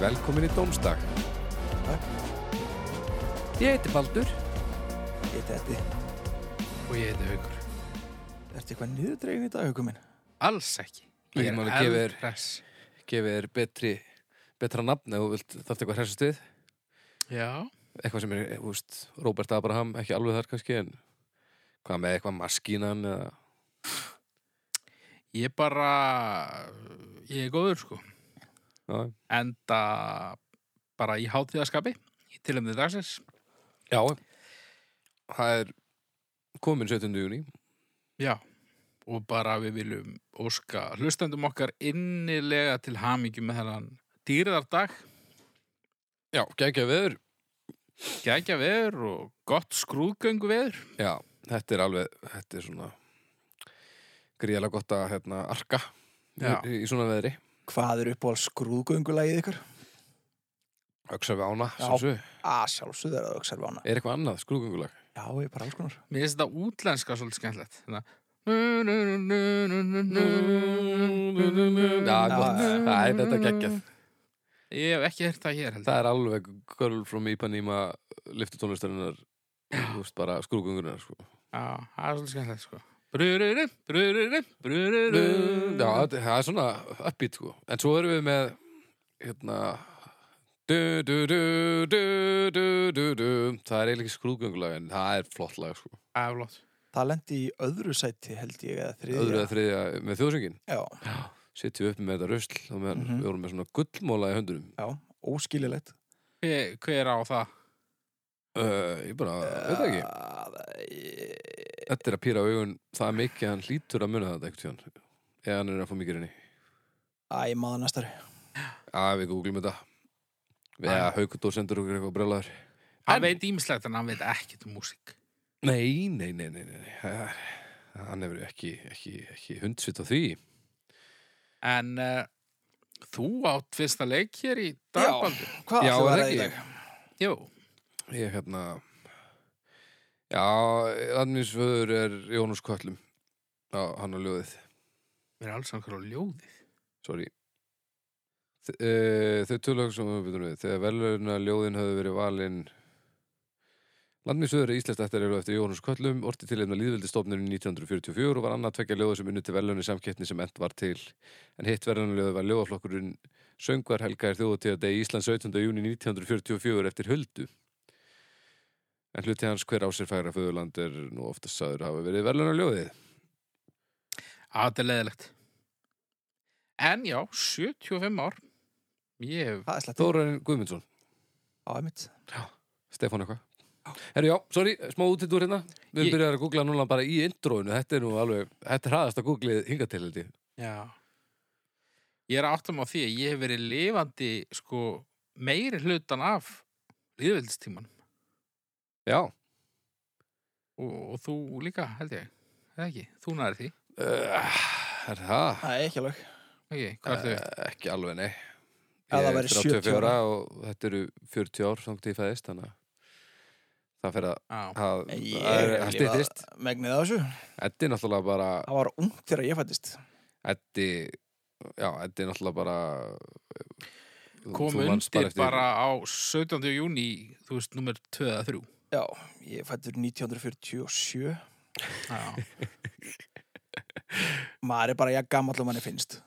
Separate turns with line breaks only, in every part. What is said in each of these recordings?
velkomin í Dómsdag.
Takk.
Ég heiti Baldur.
Ég tætti,
og ég heiti Haugur
ertu eitthvað niðurdregin í dag, hugum minn?
Alls ekki
Ég man að gefa þér-
eldhress.
Gefið þér betri, betra nafn eða þú vilt þarft eitthvað hressast við.
Já,
Eitthvað sem er, eh, þú veist, Robert Abraham, ekki alveg þar kannski, en hvað með eitthvað maskínan eða...
ég bara ég er góður sko
Já,
enda bara í hátíðaskapi í tilhemni dagsins
já. Það er komin 17. júni.
Já, og bara við viljum óska hlustendum okkar innilega til hamingju með þennan dýrðardag
Já, geggja veður.
gækja veður og gott skrúðgöngu veður
Já, þetta er alveg, þetta er svona gríðalega gott að hérna, arka
Já.
í, í svona veðri.
Hvað er upp á skrúðgöngulagið ykkur?
Öksa við ána,
Já.
sem svo.
Að sjálfsögðu er að auksar við hana.
Er eitthvað annað, skrúðgöngulag?
Já, ég er bara alls konar.
Mér finnst þetta útlenska svolítið skemmtilegt Þannig
Já,
Já,
gott.
já, já.
Það er þetta geggjað.
Ég hef ekki hert það hér heldur
Það er alveg Girl from Ipanema liftutónlistarinnar þú veist bara skrúðgöngunar sko.
Já, það er svolítið skemmtilegt sko Brururum, brururum, brururum
Já, þetta- það er svona uppbít sko. En svo erum við með hérna du, du, du, du, du, du, du. Það er eiginlega ekki skrúðgöngulag en það er flott lag sko.
Það er flott
Það lendi í öðru sæti, held ég, eða þriðja.
Öðru eða þriðja með þjóðsöngin
Já,
sittum við upp með þetta rusl og meðan
Mhm.
við vorum með svona gullmóla í höndunum
já, óskiljulegt.
Hver, hver á það?
uh, Ég bara, veit það ekki
ekki.
Þetta er að pýra augun það mikið að hann hlýtur að muna þetta eitthvað eða hann er að fá mikið reyni
Æ, maður næstari.
Já, við googlum þetta Við
Já.
að haukut og sendur okkur eitthvað brjólaður En-
Hann veit ímislegt en hann veit ekkert um músík
Nei, nei, nei, nei, nei, nei. Það er- Hann hefur ekki, ekki, ekki hundsvitt á því
En uh, þú átt fyrsta leik hér í
Já.
dagbaldu
Hvað
Já,
ætlum
er
við að ræða í
ekki?
dag?
Jú,
Ég hérna Já, annisföður er Jónus Köllum Já, hann á ljóðið,
mér er alls einhver á ljóðið
sorry Þ- eh, Þau tölög sem við byrjum við Þegar velurna ljóðin höfðu verið valin Landmiðsöður er íslenskt eftirlegu eftir Jónus Köllum, orti til einna líðveldistofnurinn 1944 og var annað tvekja ljóða sem unni til velunni samkettni sem end var til. En hitt verðanljóðu var ljóðaflokkurinn Söngvar Helgaðir þjóðutíða degi Íslands 17. júni 1944 eftir Huldu. En hluti hans hver á sér færa föðurland er nú oftast sagður hafa verið verðlunar ljóðið.
Á, þetta er leðilegt En já, 75 ár Ég hef
Það er slett.
Þórarinn Guðmundsson,
Já, einmitt.
Stefán eitthvað. Herru já, sorry, smá útidúr hérna. Við
Ég-
ég... byrjar að googla núna bara í introinu. Þetta er nú alveg, þetta er hraðast að googlið hinga til held ég.
Já Ég er að áttum á því að ég hef verið lifandi sko meiri hlutan af líðveldistíman
Já.
og, og þú líka held ég eða ekki, þú næri því
Uh, er það?
Það er ekki alveg.
ekki, hvað er þau?
Eh, Ekki alveg, nei.
Ef það
Ég er
væri 70
34
ára.
og þetta eru 40 ár þangt ég fæðist, þannig að það fyrir að,
Já,
að,
Ég
að,
hef
að
lifað
stýttist.
Megnið af þessu.
Eddi er náttúrulega bara,
Það var ungt þegar ég fættist.
Eddi, já, Eddi er náttúrulega bara,
kom undir bara á 17. júni þú veist, nummer 2 eða 3
Já, ég fættur 1947.
Já,
Maður er bara, já, gamall og manni finnst.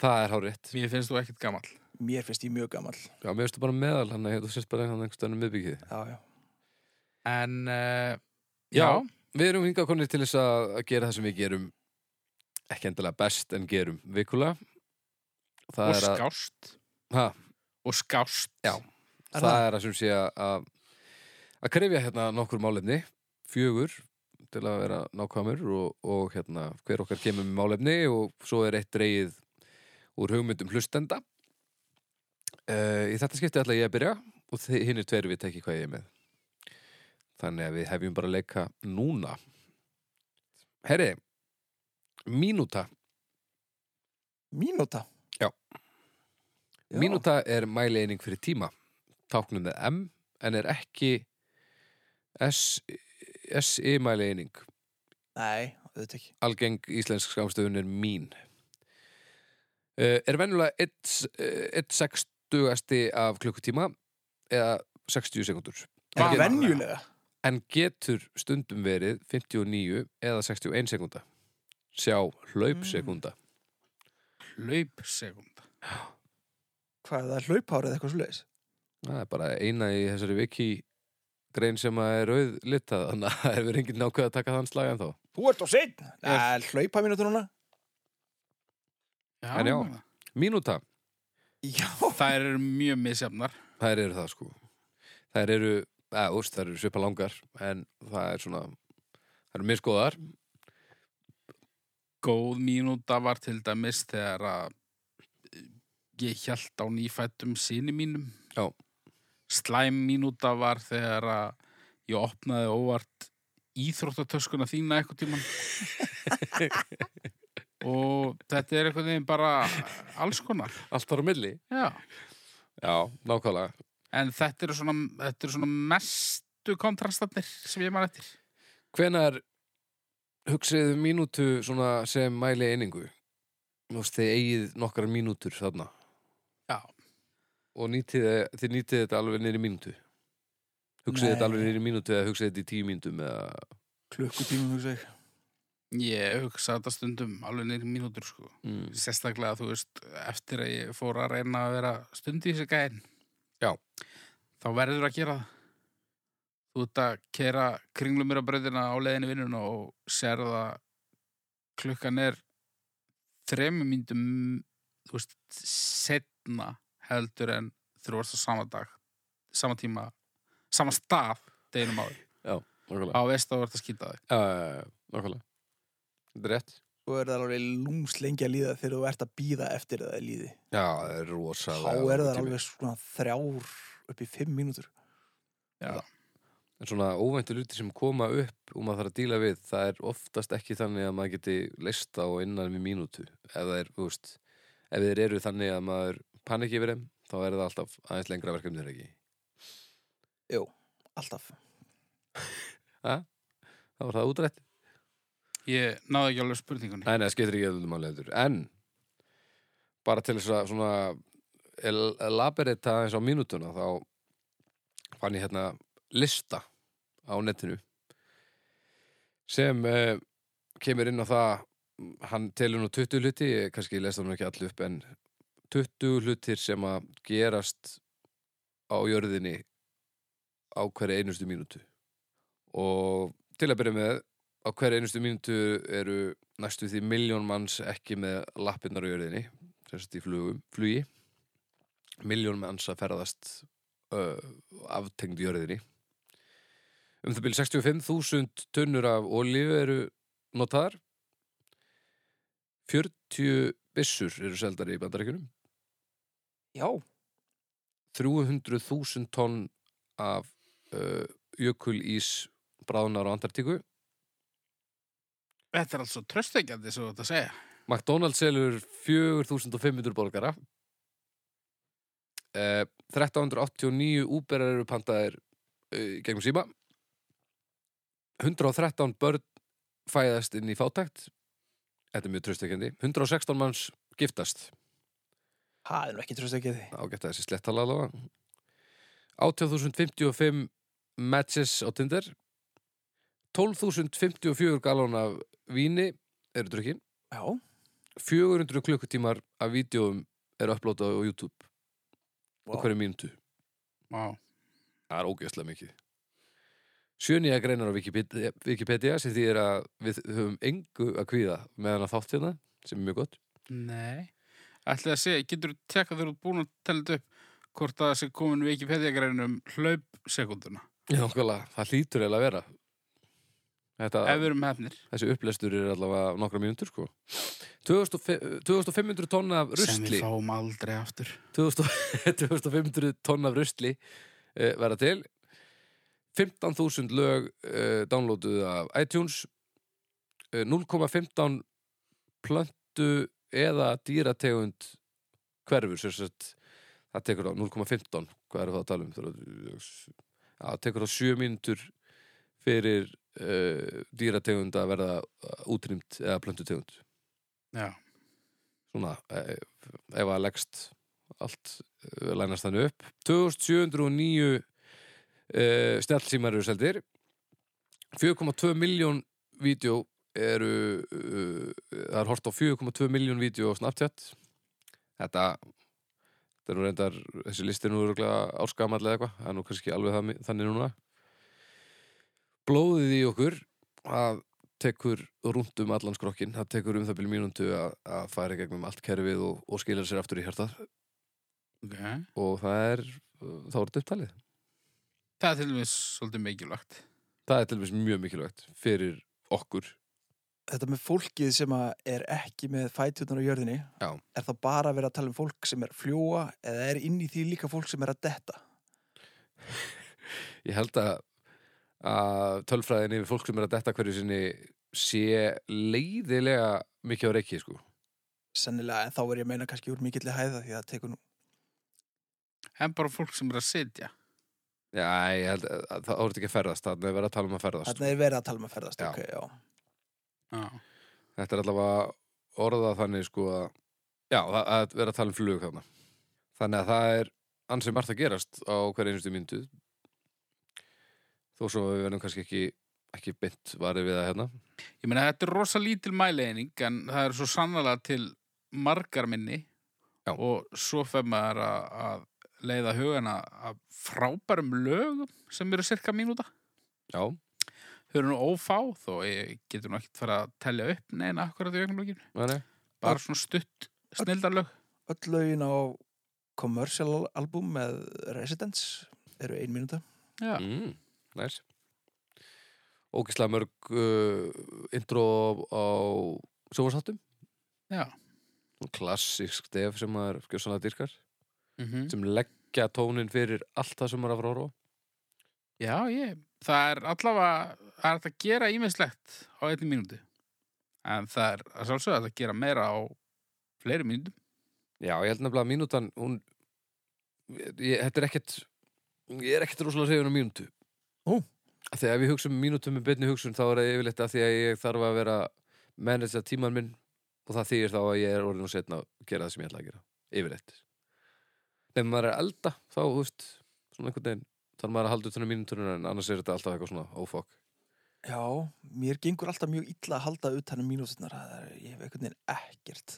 Það er hár rétt.
mér finnst þú ekkert gamall
Mér finnst ég mjög gamall.
Já, mér veistu bara meðal hann að þú sést bara hann einhvers stannum miðbyggið.
Já, já.
En, uh, já,
Já. Við erum hingað konir til þess að að gera það sem við gerum, ekki endilega best en gerum vikulega. Það
og
er að-
skást
Ha?
og skást
Já. það,
Er það?
er að sem sé að- að að krefja hérna nokkur málefni fjögur til að vera nákvæmur og, og hérna hver okkar kemur með málefni og svo er eitt dreigið úr hugmyndum hlustenda uh, í þetta skipti ætla ég að byrja og þi- hinir tveir við tekki hvað ég er með þannig að við hefjum bara að leika núna herri mínúta
Mínúta.
Já.
Já.
Mínúta er mæleining fyrir tíma táknum með M en er ekki S SI mæleining
Nei, auðvitað ekki.
algeng íslensk skamstöðun er mín Eh, er venjulega 1 uh, stugasti af klukkutíma eða 60 sekúndur
En
Bara-
venjulega
en getur stundum verið 59 eða 61 sekúnda sjá hlaupsekúnda
hlaupsegunda.
Hvað er það, hlauphárið eitthvað svo leiðis?
það er bara eina í þessari viki grein sem að er auð litað þannig að það hefur enginn nákvæð að taka þann slag en þá
Þú ert á sinn Nei, hlaupa mínútur núna
En já. mínúta,
Já,
Það eru mjög misjafnar.
þær eru það sko þær eru, eða úst, þær eru svipa langar en það er svona þær eru miskoðar
Góð mínúta var til dæmis þegar að eh, ég hjælt á nýfættum sinni mínum.
Já.
Slæm mínúta var þegar að ég opnaði óvart íþróttatöskuna þína eitthvað tíman. og þetta er eitthvað veginn bara alls konar.
allt þar á milli
Já.
já, nákvæmlega
En þetta eru svona, þetta eru svona mestu kontrastarnir sem ég maður eftir.
Hvenar hugsiðu um mínútu svona sem mæli einingu? Þú veist, þið eigið nokkrar mínútur þarna
Já.
og nýtið, þið nýtið þetta alveg niður í mínútu Hugsið
Nei.
þetta alveg niður í mínútu eða hugsið þetta í tíu mínútum eða...
klukkutímum hugsa ég
Ég hugsa þetta stundum alveg nýri mínútur sko.
mm.
Sérstaklega þú veist eftir að ég fór að reyna að vera stund í þessi gæðin.
Já.
Þá verður að gera það. Þú ert að kera kringlumir á bröðina á leiðinni í vinnuna og sér það klukkan er þremur mínútum þú veist setna heldur en þú varst á sama dag sama tíma, sama stað deginum áður.
Nákvæmlega
Á veist að þú ert að skýta þig.
uh, Nákvæmlega Þetta er rétt
Þú er það alveg lúms lengi að líða þegar þú ert að býða eftir að það líði
Já, það er
Þá
rosalega
er það
langur tími.
alveg svona þrjár upp í fimm mínútur
Já.
En svona óvæntu luti sem koma upp og maður þarf að díla við, það er oftast ekki þannig að maður geti leist á innan við mínútu. Ef það er, þú veist, ef þeir eru þannig að maður panik yfir þeim, þá er það alltaf aðeins lengra verkefni þeir ekki.
Alltaf
Það var það útrætt.
Ég náði ekki alveg spurningunni.
Nei, nei, það skiptir ekki öllum máli heldur. En, bara til þess að svona el- elaborata eins á mínútuna, þá fann ég hérna lista á netinu sem eh, kemur inn á það hann telur nú 20 hluti ég kannski lesa hann ekki allu upp en 20 hlutir sem að gerast á jörðinni á hverja einustu mínútu og til að byrja með á hverja einustu mínútu eru næstu því miljón manns ekki með lappirnar á jörðinni sem sagt í flugum, flugi miljón manns að ferðast uh, aftengd jörðinni um það byrja 65.000 tunnur af olíu eru notaðar 40 byssur eru seldar í bandaríkunum
Já,
300.000 tonn af uh, jökulís bráðunar á Antartíku
Þetta er alls svo tröstekjandi svo þetta að segja.
McDonalds selur 4500 borgara uh, 1389 úberar eru pantaðir uh, gegnum síma 113 börn fæðast inn í fátækt Þetta er mjög tröstekjandi 116 manns giftast
það er nú ekki tröst ekki því
ágætt að þessi slettala allavega 18.055 matches á Tinder 12.054 galón af víni eru drukkin
Já,
400 klukkutímar af vídjóum eru upplótað á YouTube á
Vá.
hverju mínútu
Vá.
það er ógeðslega mikið sjönýja greinar á Wikipedia, Wikipedia sem því er að við höfum engu að kvíða meðan að þátt hérna sem er mjög gott
Nei. Ætlið að segja, getur þú tekað þegar þú ert búin að tella þetta upp hvort að það sé komin Wikipedia-grein um hlaupsekunduna.
Nákvæmlega, það hlýtur eiginlega að vera Þetta,
Ef við erum hefnir.
þessi upplestur er allavega nokkra mínútur sko 2500 2500 tonna af
Sem
rusli
við fáum aldrei aftur.
2000 2500 tonn af rusli uh, vera til 15.000 lög uh, downloaduð af iTunes uh, 0,15 plöntu eða dýrategund hverfur sem sagt, það tekur á 0,15 hvað er það að tala um Það eru- Já, það tekur á 7 mínútur fyrir uh, dýrategund að verða útrýmt eða plöntutegund
Já.
svona eh, ef að leggst allt uh, lænast þannig upp 2709 uh, eh, snjallsímar eru seldir 4,2 miljón vídeo eru uh, það er hort á 4,2 miljón vídeo á Snapchat þetta þetta er nú reyndar, þessi listi er nú örugglega ársgamall eða eitthvað, það er nú kannski alveg það, þannig núna blóðið í okkur að tekur rúnt um allan skrokkin það tekur um það byrjum mínúndu að, að fara í gegnum allt kerfið og, og skilja sér aftur í hjartað
Ok.
og það er, uh, þá er þetta upptalið
Það er til dæmis svolítið mikilvægt.
það er til dæmis mjög mikilvægt fyrir okkur
Þetta með fólkið sem að er ekki með fætjurnar á jörðinni
Já.
er þá bara að vera að tala um fólk sem er að fljóa eða er inn í því líka fólk sem er að detta
ég held að, að tölfræðin yfir fólk sem er að detta hverju sinni sé leiðilega mikið á reiki sko.
sennilega en þá er ég að meina kannski úr mikilli hæða því að það tekur nú
En bara fólk sem er að sitja.
já, ég held að, að það orði ekki að ferðast þannig að vera að tala um að ferðast
Þarna er verið að tala um að ferðast
Já.
ok, já.
Já.
þetta er allavega orðað þannig sko að já, það- að vera að tala um flug þarna þannig að það er ansið margt að gerast á hverja einustu myndu þó svo að við verðum kannski ekki ekki beint varið við það hérna
Ég meina, þetta er rosa lítil mæleining en það er svo sannlega til margar minni
Já.
og svo fer maður að, að leiða hugana að frábærum lögum sem eru cirka mínúta.
já,
Þau eru nú ófá þó ég getur nú ekkert fara að telja upp neina akkurat í augnlöginu.
þannig
Bara svona stutt snildarlög.
öll lögin á commercial album með Residence eru ein mínúta
Já.
mm, næs ógislega mörg uh, intro á, á sjófarsáttum
Já.
klassisk stef sem maður skjössanlega dyrkar
Mm
sem leggja tónin fyrir allt það sem maður er að fara að horfa á
Já, ég. Það er allavega, það er hægt að gera ímislegt á einni mínúti. En það er að sjálfsögða að gera meira á fleiri mínútum.
Já, ég held nefnilega að mínútan hún, ég, ég- þetta er ekkert ég er ekkert rosalega reyðun á mínútu
Ó.
Þegar við hugsaum um mínútu með beinni hugsun þá er það yfirleitt að því að ég þarf að vera manager tíman minn og það þýr þá að ég er orðin og setna að gera það sem ég ætla að gera, yfirleitt Nefnum maður er að elda þá, þú veist, svona einhvern veginn þarf maður að halda utan á mínútunum en annars er þetta alltaf eitthvað svona oh ófokk
já, mér gengur alltaf mjög illa að halda utan um mínúturnar það er, ég hef einhvern veginn ekkert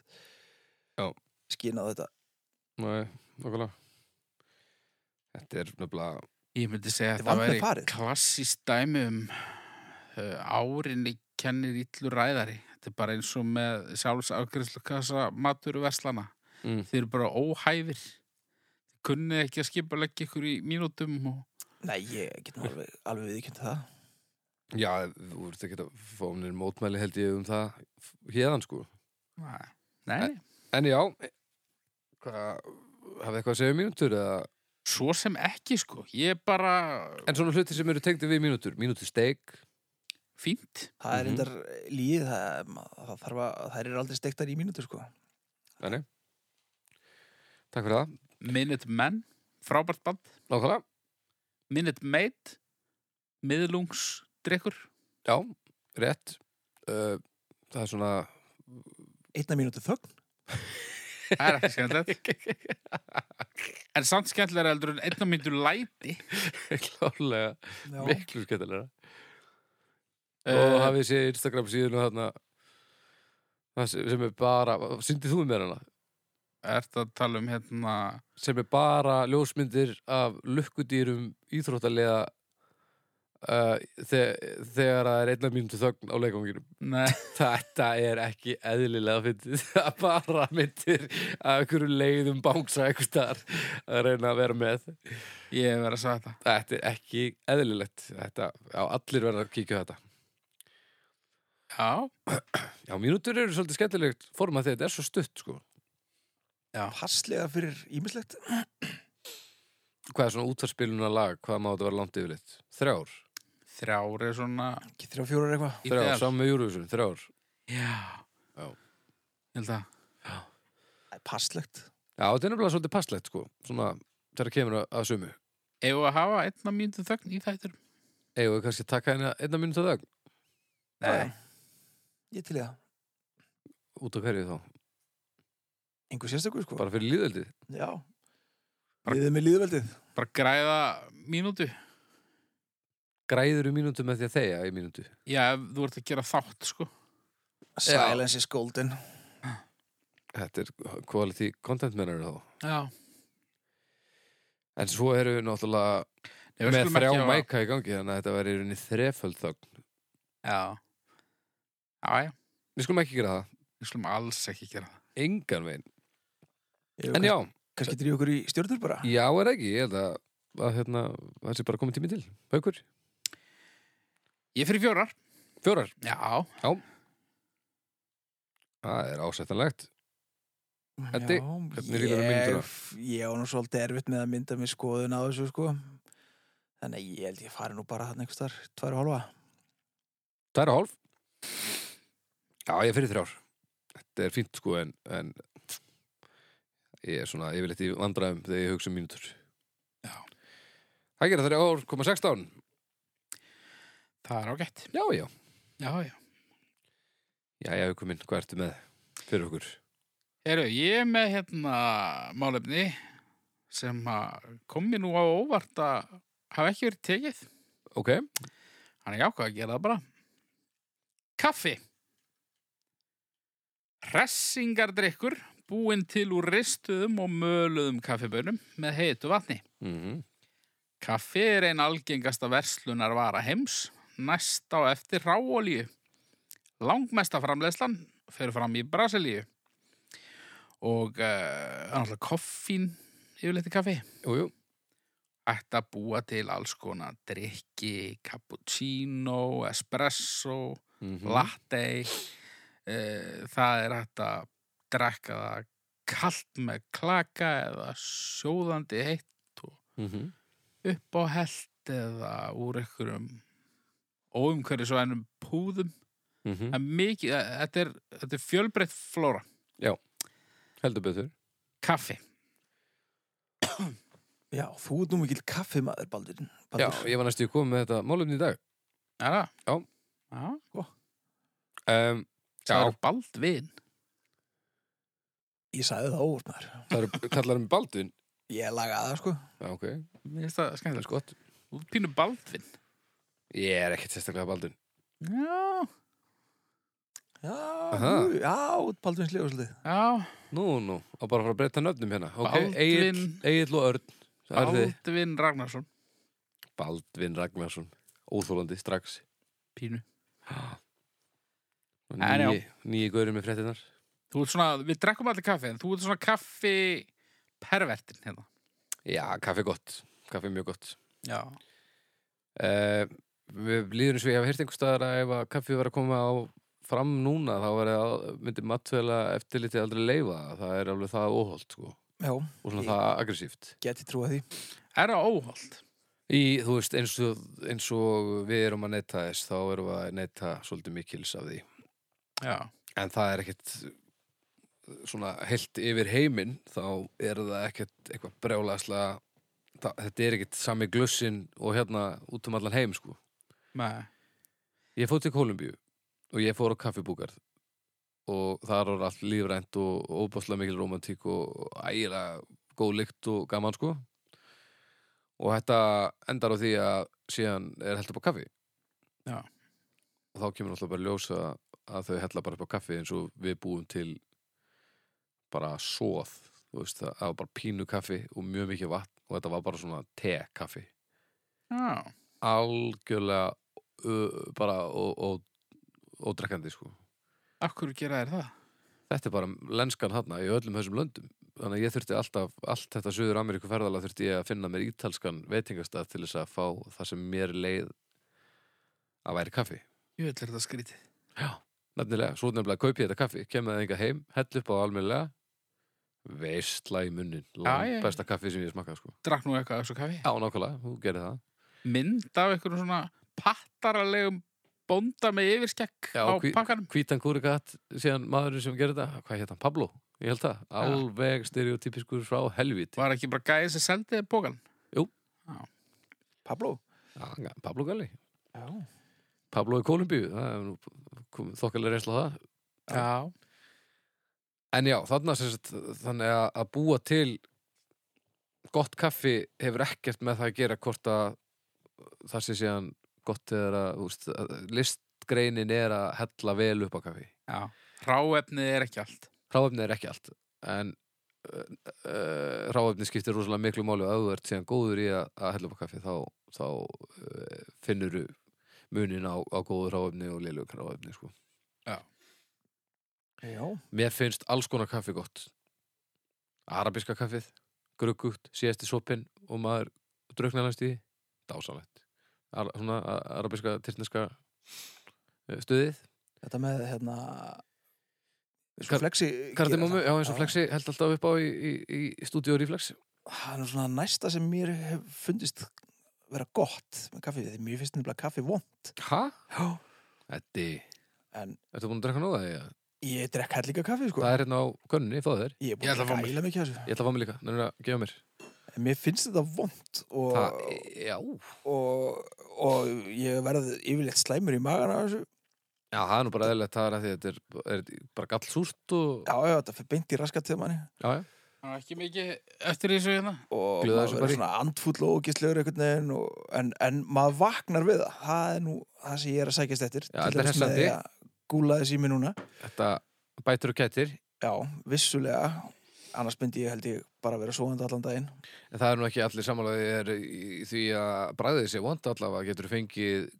Já.
skynað þetta
Nei, nokkulega Þetta er nefnilega
Ég myndi segja að
Þetta
þetta
er vandmeðfarið.
væri klassist dæmi um uh, árinni kennir illu ræðari. Þetta er bara eins og með sjálfsafgriðslukassa matur og verslana.
mm.
Þeir eru bara óhæfir. Kunnið ekki að skipa leggja ykkur í mínútum og...
nei, ég get nú alveg, alveg viðkynnt það
Já, þú ert ekki að fá mér mótmæli held ég um það hérðan sko.
Nei, Nei.
En já, hvað, hafið eitthvað að segja um mínútur eða?
svo sem ekki sko. Ég er bara
En svona hluti sem eru tengdi við mínútur, mínútur steik,
fínt.
það er
Mhm.
endar líð það, það, þarf að, það er aldrei stektar í mínútur sko
þannig. Takk fyrir það,
Minute Men, frábært band.
nákvæmlega.
Minute Maid, miðlungsdrykkur.
Já, rétt. Uh, það er svona,
einna mínútu þögn
Það er ekki skemmtilegt. En samt skemmtilega heldur en einn og myndur læti.
klálega,
já,
miklu skemmtilega. Og
Eh,
hafið séð Instagram síðan og þarna, það sem sem er bara, syndið þú mér hana?
Ertu að tala um hérna
sem er bara ljósmyndir af lukkudýrum íþróttalega uh, þe þegar það er einna mínútu þögn á leikanginum.
Nei,
Þetta er ekki eðlilega fyndið. Það er bara myndir af einhverju leiðum bángsa einhvers staðar að reyna að vera með.
ég hef verið að sagða þetta
Þetta er ekki eðlilegt. Þetta, já, allir verða að kíkja á þetta.
Já,
Já, mínútur eru svolítið skemmtilegt form að þetta er svo stutt, sko.
passlega fyrir ímislegt
Hvað er svona útvarspiluna lag? Hvað má þetta vera langt yfirleitt? Þrjár.
þrjár er svona
ekki þrjá fjórar eitthvað
Þrjár,
ideal.
saman með Júruvísun, þrjár.
Já,
Já.
Ég held að
Það er passlegt
Já, þetta er nefnilega svolítið passlegt, sko, svona þegar kemur að- að sumu.
Ef að hafa einn og myndu þögn í þættur
Eigum við kannski að taka eina, eina mínútu að dag
Já, já. ég til í það
út af hverju þá?
einhver sérstakur sko
bara fyrir líðaldið
já,
Bara-
liðið með liðveldið
Bara græða mínútu.
græður í um mínútu með því að þeia í mínútu
Já, ef þú ert að gera þátt, sko.
silence is golden
þetta er quality content mennur þá
Já.
en svo eru við náttúrulega
Nei, við
með
skulum
þrjá
ekki hafa-
mæka í gangi þannig að þetta væri í rauninni þreföld þögn
Já. Já, já.
við skulum ekki gera það,
Við skulum alls ekki gera það.
engan veginn
Ég
en já,
kannski drýja okkur í stjórnur bara
já er ekki ég held að, að hérna, það sé bara komið tími til Haukur,
Ég er fyrir fjórar.
fjórar,
Já.
það er ásættanlegt Eddi, hvernig líður þér með
ég,
myndina?
ég var nú svolítið erfitt með að mynda mér skoðun á þessu sko þannig að ég held ég fari nú bara hann einhvers þar tværi hálfa
það er hálf já, ég er fyrir þrjár þetta er fínt sko en, en ég er svona, ég vil eitthvað vandræðum þegar ég hugsa um mínútur
Já.
það gera þrjár, koma 16
Það er ágætt.
já, já,
Já, já.
já, já, Haukur minn, hvað ertu með fyrir okkur?
Heru, ég er með hérna málefni sem að kom mér nú á óvart að hafa ekki verið tekið.
ok,
Þannig ég ákvað að gera það bara. Kaffi. Hressingardrykkur búinn til úr ristuðum og möluðum kaffibönum með heitu vatni.
mhm
Kaffi er ein algengasta verslunar vara heims, næst á eftir ráolíu. Langmesta framleiðslan fer fram í Brasilíu. Og uh, annars koffín yfirleitt í kaffi.
Jú, jú,
ætti að búa til alls konar drikki, cappuccino, espresso,
mm
latte. Uh, það er hægt að drekka það kalt með klaka eða sjóðandi heitt
Mhm.
upp á held eða úr einhverjum óumhverju svo ennum púðum.
Mhm.
Það er mikið, e, þetta er, þetta er fjölbreytt flóra.
heldur betur
Kaffi.
já, þú ert nú mikill kaffimaður Baldur,
Já,
Baldur.
ég var næstu komið með þetta málumni í dag
Er það?
Já.
Já,
um,
það
Já,
eru baldvin.
ég sagði það óvart maður
það eru kallar um Baldvin
ég lagaði það sko
Já, ok,
Mér finnst það
það
skemmtilega
er
sko.
skott
Þú ert pínu baldvin.
Ég er ekkert sérstaklega Baldvin
Já.
já,
Aha.
jú, já, Baldur finnst lega svolítið
Já,
Nú, nú, og bara að fara að breyta nöfnum hérna okay.
Baldvin.
Egill- Egill og Örn Það eru þið
Baldvin Ragnarsson
Baldvin Ragnarsson, óþólandi strax
Pínu En já.
Nýji, nýji gaurið með fréttinar
Þú ert svona, við drekkum allir kaffi en þú ert svona kaffi pervertin hérna
Já, kaffi gott, kaffi mjög gott
Já
uh, Við líður eins og ég hef heyrt einhvers staðar að ef að kaffi var að koma á fram núna þá var að myndi matveila eftirliti aldrei leifa það. það er alveg það óholt sko.
já,
og svona
Ég-
það aggressíft
geti trúið því
Er það óholt?
í, þú veist, eins og, eins og við erum að neyta þess þá erum við að neyta svolítið mikils af því
Já
en það er ekkert eh, svona heilt yfir heiminn þá er það ekkert eitthvað brjálaðslega það- þetta er ekkert sami glussin og hérna út um allan heim sko
Nei
Ég fór til Kolumbíu og ég fór á kaffibúkar og þar var allt lífrænt og óbáslega mikil romantík og ægilega góð lykt og gaman sko og þetta endar á því að síðan er held upp á kaffi
Já.
og þá kemur alltaf bara í ljós að, að þau hella bara upp á kaffi eins og við búum til bara svoð þú veist það, það var bara pínu kaffi og mjög mikið vatn og þetta var bara svona te kaffi
Já
algjörlega uh, bara og, og, og drekkandi sko.
Akkur gera þér það?
Þetta er bara lenskan hana í öllum þessum löndum. Þannig að ég þurfti alltaf, allt þetta Suður Ameríku ferðala þurfti ég að finna mér ítalskan veitingastað til þess að fá það sem mér leið að væri kaffi.
Ég vil þetta skrítið
Nefnilega, svo nefnilega kaupi ég þetta kaffi, kemur það enga heim, hell upp á almennilega, veistla í munnin,
já, já.
langt besta kaffi sem ég smakkaði sko.
Drakk nú eitthvað af þessu kaffi
Já, nákvæmlega, þú gerir það.
Mynd af einhverjum svona pattaralegum bónda með yfirskegg
Já,
á
hví-
pakkanum
hvítan kúrikat síðan maðurinn sem gerir þetta, hvað hétt hann, Pablo ég held það, alveg stereotypiskur frá helvíti
Var ekki bara gæðið sem seldið bókan?
Pablo
ja, Pablo Galli,
já,
Pablo í Kolumbíu það er nú þokkalega reynsla á það
Já
En já, þarna sem sagt, þannig að, að búa til gott kaffi hefur ekkert með það að gera hvort að það sé síðan gott eða að, úst, að listgreinin er að hella vel upp á kaffi.
Já. Ráefnið er ekki allt.
Ráefni er ekki allt, en uh, uh, ráefni skiptir rosalega miklu máli og ef þú ert síðan góður í að, að hella upp á kaffi þá, þá uh, finnur þú munin á, á góðu ráefni og lélugur ráefni, sko.
Já.
Mér finnst alls konar kaffi gott Arabiska kaffið Gruggugt, síðasti sopin Og maður drauknaðast í því. Dásamlegt Ar Svona a- arabiska, tyrkneska eh, Stuðið
Þetta með hérna eins og
Kar-
flexi
Kardimómu, já eins og
Já.
flexi held alltaf upp á í, í, í stúdíu Reflex
Það er nú svona næsta sem mér hef fundist vera gott með kaffi því mér finnst nefnilega kaffi vond
Hæ?
Já.
Þetta,
En
ertu búin að drekka nóða því?
ég drekk hell líka kaffi sko
Það er hérna á könnunni, fáðu þér
Ég er
Ég
búin
ætla
að
að fá mér.
gæla mikið af þessu
Ég ætla að fá mig líka, nefnir að gefa mér
En Mér finnst þetta vond og,
Það, já
og, og ég verð yfirleitt slæmur í magan af þessu
Já, það er nú bara eðlilegt, það er að því þetta er, er bara gallsúrt og
Já, já, þetta fyrir beint í raskat til manni
Já, já,
Það er ekki mikið eftir þessu hérna.
og
Gluða þessu bara
maður verður
í.
svona andfúll og ógistlegur einhvern veginn og, en, en maður vaknar við það það er nú það sem ég er að sækjast eftir
þetta er
Til dæmis með því
hressandi.
að gúla þessi í mig núna
þetta bætir og kætir
já, vissulega annars myndi ég held ég bara vera svoðandi allan daginn
En það er nú ekki allir sammálaði er í því að bræðið sé vond allavega getur fengið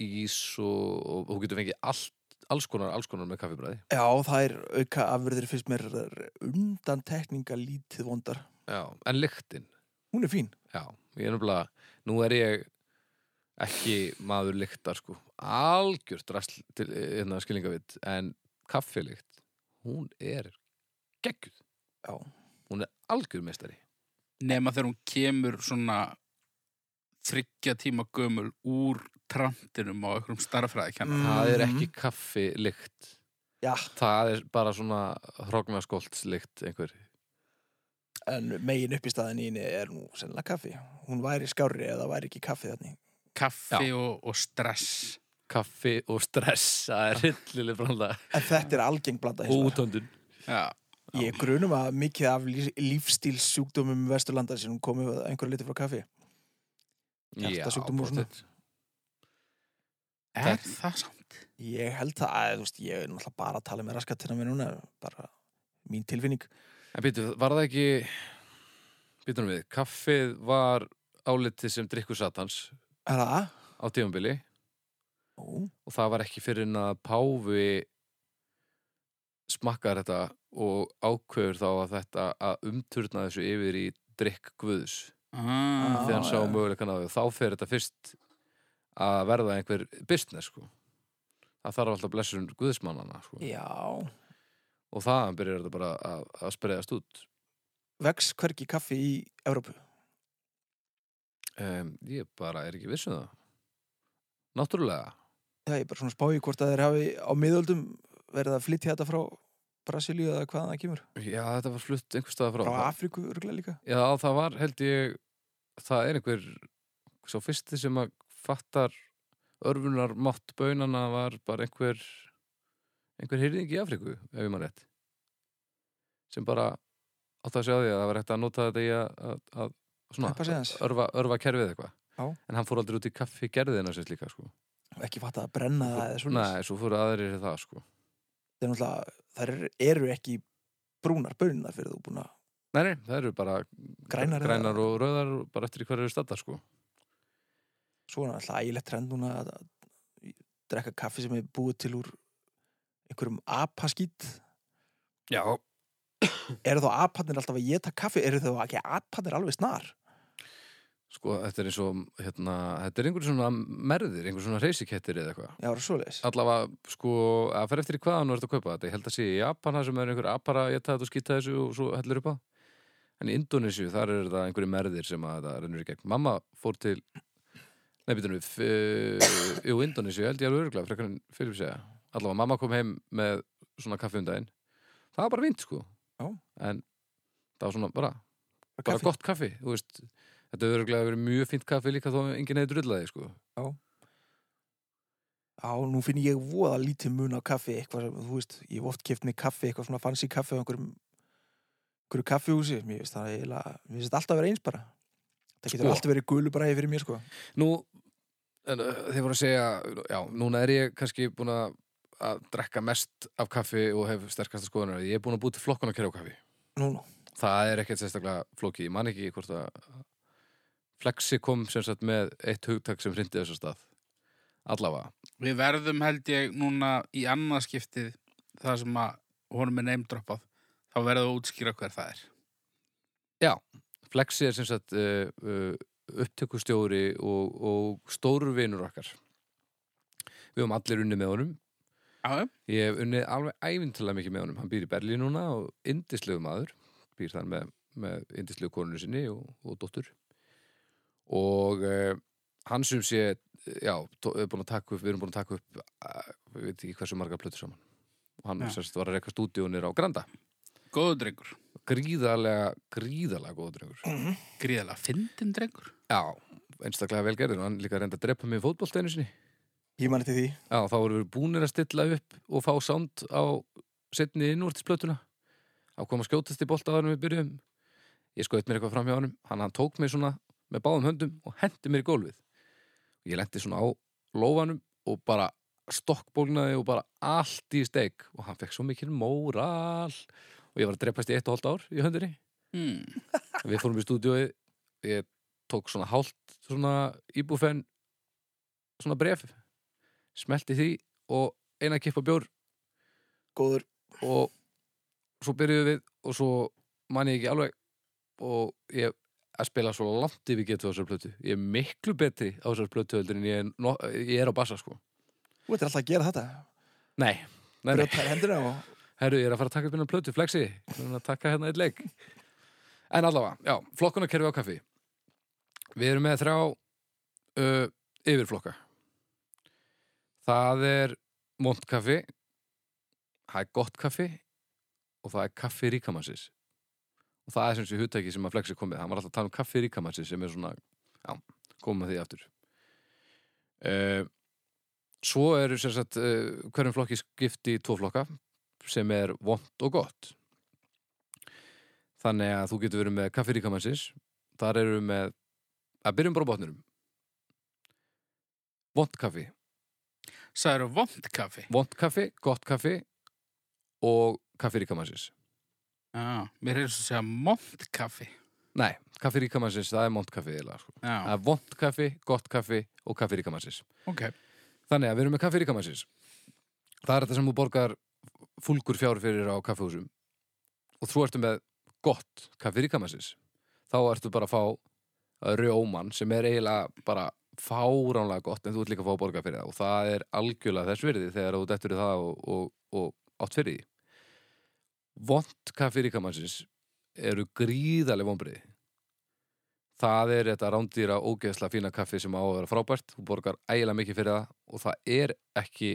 ís og, og þú getur fengið allt, alls konar, alls konar með kaffibræði.
já, það er auka afurðir fyrst mér undan tekninga lítið vondar
Já, en lyktin,
hún er fín
já, ég er nefnilega, nú er ég ekki maður lyktar sko, algjört rast til hérna skilningavitt, en kaffilykt, hún er geggjur,
já,
hún er algjör meistari.
Nema þegar hún kemur svona þryggja tíma gömul úr trantinum á einhverjum starffræðikennar.
Mm.
Það er
Mhm.
ekki kaffilykt,
já
það er bara svona hrognaskoltslykt einhver.
en megin upp í staðin í henni er nú sennilega kaffi hún væri skárri eða væri ekki kaffi þannig
Kaffi og, og stress.
kaffi og stress það er hillileg branda
en þetta er algeng blanda hins
og
vegar.
útöndun
Já.
Ég grunum að mikið af lí- lífstílssjúkdómum vesturlandar sem komið að einhverju liti frá kaffi. Hjartasjúkdómur og svona.
pottet.
Er
Þetta-
það samt?
Ég held það að, þú veist, ég er náttúrulega bara að tala með raskatina mér núna, bara mín tilfinning.
en býtu, var það ekki býtu nú við, kaffið var álitið sem drikkur satans
Er það?
á tímabili
Ó,
og það var ekki fyrir en að páfi smakkar þetta og ákveður þá að þetta að umturna þessu yfir í drikk guðs
Ah.
þegar hann
Já,
sá
já.
möguleikan á því og þá fer þetta fyrst að verða einhver business sko það þarf alltaf blessun guðsmannana sko.
já.
og þaðan byrjar þetta bara að, að spreðast út
Vex hvergi kaffi í Evrópu?
um, ég bara er ekki viss um það náttúrulega
Það er bara svona spáið hvort að þeir hafi á miðöldum verið að flytja þetta frá Brasilíu eða hvaðan það kemur.
já þetta var flutt einhver staða frá
Frá Afríku örgulega líka.
já það var held ég það er einhver sá fyrsti sem að fattar örfunar mátt bönana var bara einhver einhver hyrðing í Afriku ef ég maður rétt sem bara átt að segja því að það var hægt að nota þetta í að, að, að
Peppa sig aðeins.
svona örva, örva kerfið eitthvað
Já.
en hann fór aldrei út í kaffi gerðina sér líka sko
Ekki fatt að brenna það eða svona.
Nei, svo fóru aðrir í það sko
Það er náttúrulega, þær eru ekki brúnar bönunar fyrir þú búin að
Nei, nei, það eru bara
Grænar eða-
og rauðar og bara eftir í hverju eru staddar sko
svo er alltaf ægilegt trend núna að að drekka kaffi sem er búið til úr einhverjum apaskýt
Já
eru þá apatnir alltaf að geta kaffi eru þá ekki apatnir alveg snar
Sko, þetta er eins og hérna, þetta er einhver svona merðir, einhver svona reysikettir eða eitthvað
já, það er svoleiðis
Allavega, sko, að fer eftir í hvaðan þú ert að kaupa þetta Ég held að sé í Japan það sem er einhver apar að geta þetta og skýta þessu og svo hellir upp á En í Indonésiu, þar er þetta einhverju merðir sem að þetta rennur í gegn Mamma fór til, nei, býtum við, f- jú, Indonésiu, held ég alveg örgulega, frekar en fyrir segja Allavega, mamma kom heim með svona kaffi um daginn Það var bara vint, sko
Já.
En það var svona bara, bara
kaffi,
gott kaffi, þú veist Þetta hefur örgulega verið mjög fínt kaffi líka þó enginn hefði drullaði, sko
Já, nú finn ég voða lítið mun á kaffi eitthvað sem, þú veist, ég hef oft keft mig kaffi eitthvað svona fancy kaffi á einhverjum einhverju kaffihúsi, mér finnst það eiginlega mér finnst alltaf að vera eins bara það getur
Sko.
alltaf verið gulubræði fyrir mér, sko
Nú, en, uh, þið voru að segja, já, núna er ég kannski búin að, að drekka mest af kaffi og hef sterkasta skoðunar. Ég er búin að búti flokkun á kerja á kaffi.
Nú, nú,
Það er ekkert sérstaklega flókið. Ég man ekki hvort að Flexi kom sem sagt með eitt hugtak sem hrindi þessu stað. Allavega.
Við verðum held ég núna í annað skiptið það sem að honum er neymdroppað þá verðum við að útskýra hver það er.
Flexi er sem sagt uh, uh, upptökustjóri og, og stóru vinur okkar. Við höfum allir unni með honum.
Já, já.
Ég hef unnið alveg ævintilega mikið með honum. Hann býr í Berlín núna og indislegu maður. Býr þar með, með indislegu konunni sinni og, og dóttur. Og uh, hann sem sé, já, tó- er búin að taka upp, við erum búin að taka upp, uh, við veit ekki hversu marga plötur saman. Og hann
Já.
sérst var að reyka stúdíunir á Granda.
Góðu drengur.
Gríðarlega, gríðarlega góður drengur.
Gríðalega fyndin drengur.
Já, einstaklega velgerður. Hann líka reyndi að drepa mig í fótbolteinu sinni.
ég man eftir því
Já, þá voru við búnir að stilla upp og fá sound á setni innvortisplötuna. Þá kom að skjótast í bolta áður en við byrjuðum. Ég skoðið mér eitthvað fram hjá honum. Hann, hann tók mig svona með báðum höndum og hendi mér í gólfið. Ég lendi svona á lófanum og bara stokkbólnaði og bara allt í steik. Og hann fekk svo mikil móral. Og ég var að dreipast í eitt og hálft ár í höndinni.
Hmm.
Við fórum í stúdíói. Ég tók svona hálft svona íbúfen svona bref. Smelti því og eina kippa bjór
góður,
og svo byrjuðum við og svo man ég ekki alveg og ég að spila svo langt yfir getu á þessar plötu ég er miklu betri á þessar plötu heldur en ég er, no, ég er á bassa sko
þú veitir alltaf að gera þetta
nei, nei, nei.
brjóta hendina og
herru, ég er að fara að taka upp hérna plötu, flexi ég er að taka hérna eitt leik en allavega, já, flokkunarkerfi á kaffi við erum með þrjá uh, yfirflokka það er mont kaffi það er gott kaffi og það er kaffi ríkamannsins og það er sem sé hugtæki sem að flexi komið hann var alltaf að tala um kaffi ríkamannsins sem er svona já, komum að því aftur uh, svo eru sem sagt uh, hverjum flokki skipti í tvo flokka sem er vond og gott þannig að þú getur verið með kaffi ríkamannsins þar eru við með að byrjum bara á botnurum vond kaffi
Sæður vond kaffi.
vond kaffi, gott kaffi og kaffi ríkamannsins
Já, mér er svo að segja mond kaffi.
Nei, kaffi ríkamannsins, það er mont kaffi eiginlega, sko. Það
Já,
er vond kaffi, gott kaffi og kaffi ríkamannsins.
ok.
Þannig að við erum með kaffi ríkamannsins. Það er þetta sem þú borgar fúlgur fjár fyrir á kaffihúsum og þú ertu með gott kaffi ríkamannsins. Þá ertu bara að fá rjóman sem er eiginlega bara fáránlega gott en þú ert líka að fá að borga fyrir það og það er algjörlega þess virði þegar þú dettur í það og, og, og átt fyrir því. Vond kaffi ríkamannsins eru gríðaleg vonbriði. Það er þetta rándýra ógeðsla fína kaffi sem á að vera frábært þú borgar ægilega mikið fyrir það og það er ekki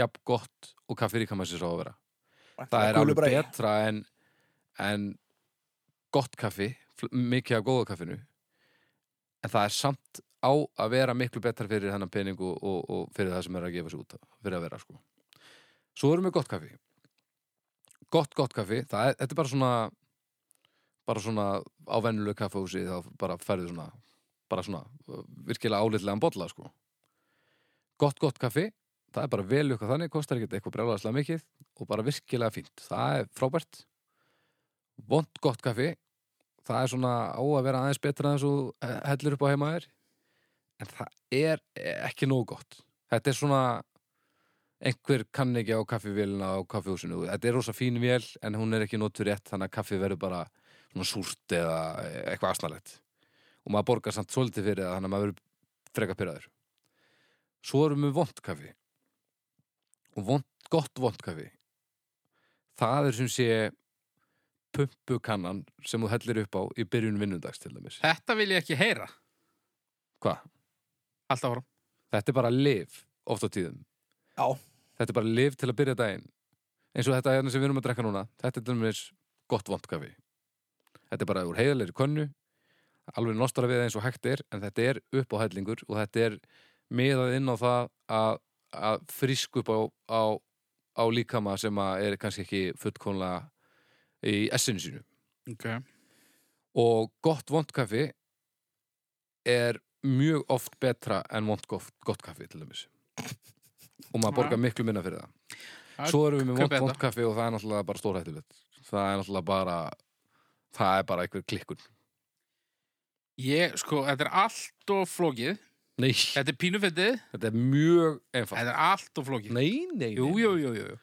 jafn gott og kaffi ríkamassins á að vera það er alveg
Gulubræði.
betra en, en gott kaffi fl- mikið af góða kaffinu en það er samt á að vera miklu betra fyrir þennan pening og, og, og fyrir það sem er að gefa sér út á- fyrir að vera sko svo erum við gott kaffi gott gott kaffi, það er, þetta er bara svona bara svona á venjuleg kaffahúsi þá bara ferðu svona bara svona uh, virkilega álitlegan bolla sko gott gott kaffi, það er bara vel eitthvað þannig kostar ekkert eitthvað brjálaðslega mikið og bara virkilega fínt. Það er frábært. Vond gott kaffi. Það er svona á að vera aðeins betra en svo hellir upp á heima þér. En það er ekki nóg gott. Þetta er svona einhver kann ekki á kaffivélina á kaffihúsinu. Þetta er rosa fín vél en hún er ekki notur rétt þannig að kaffi verður bara svona súrt eða eitthvað asnalegt. Og maður borgar samt svolítið fyrir það þannig að maður verður freka pyrraður. Svo erum við vond kaffi. Og vond, gott vond kaffi það er sem sé pumpukannan sem þú hellir upp á í byrjun vinnundags til dæmis.
Þetta vil ég ekki heyra.
Hvað?
Alltaf ára.
Þetta er bara liv oft á tíðum.
Já.
Þetta er bara liv til að byrja daginn. Eins og þetta hérna sem við erum að drekka núna, þetta er til dæmis gott vondkafi. Þetta er bara úr heiðalegri könnu, alveg nostra við það eins og hægt er, en þetta er upp á hellingur og þetta er miðað inn á það að, að frísk upp á, á, á líkama sem að er kannski ekki fullkomlega í essinu sínu
ok,
og gott vond kaffi er mjög oft betra en vond gott, gott kaffi til dæmis og maður borgar miklu minna fyrir það
Já,
svo erum við með vond,
kaupi
vond
þetta.
kaffi og það er náttúrulega bara stórhættulegt það er náttúrulega bara það er bara einhver klikkun
ég, sko, þetta er allt og flókið
nei,
þetta er pínufettið,
þetta er mjög einfalt
þetta er allt og flókið
nei, nei, nei
jú, jú, jú, jú jú.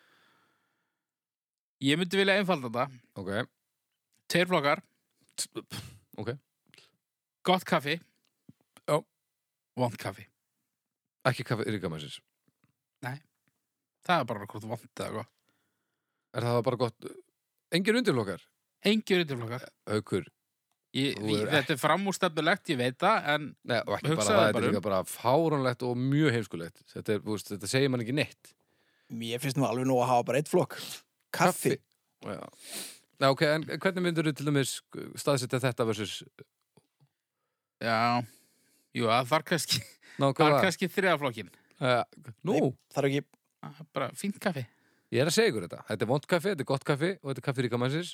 ég myndi vilja einfalda þetta
ok,
tveir flokkar
ok.
gott kaffi
Já.
vond kaffi
ekki kaffi ríkamæsins
það er bara hvort vond eða gott
er það bara gott engin undirflokkar,
engin undirflokkar
aukur
Ég,
Þú
ég,
er
þetta er framústefnulegt, ég veit það en
Nei, og ekki bara
Hugsaðu
það, þetta
bara
er
um.
líka bara fáránlegt og mjög heimskulegt þetta, er, þú veist, þetta segir mann ekki neitt
Mér finnst nú alveg nú að hafa bara eitt flokk. Kaffi.
Já. Já, ok, en hvernig myndur þú til dæmis staðsetja þetta versus
já, jú, það þarf kannski þarf
nákvæmlega?
kannski þriðaflokkin
Uh, nú,
Það er ekki,
bara fínt kaffi
ég er að segja ykkur þetta þetta er vond kaffi, þetta er gott kaffi og þetta er kaffi ríkamænsins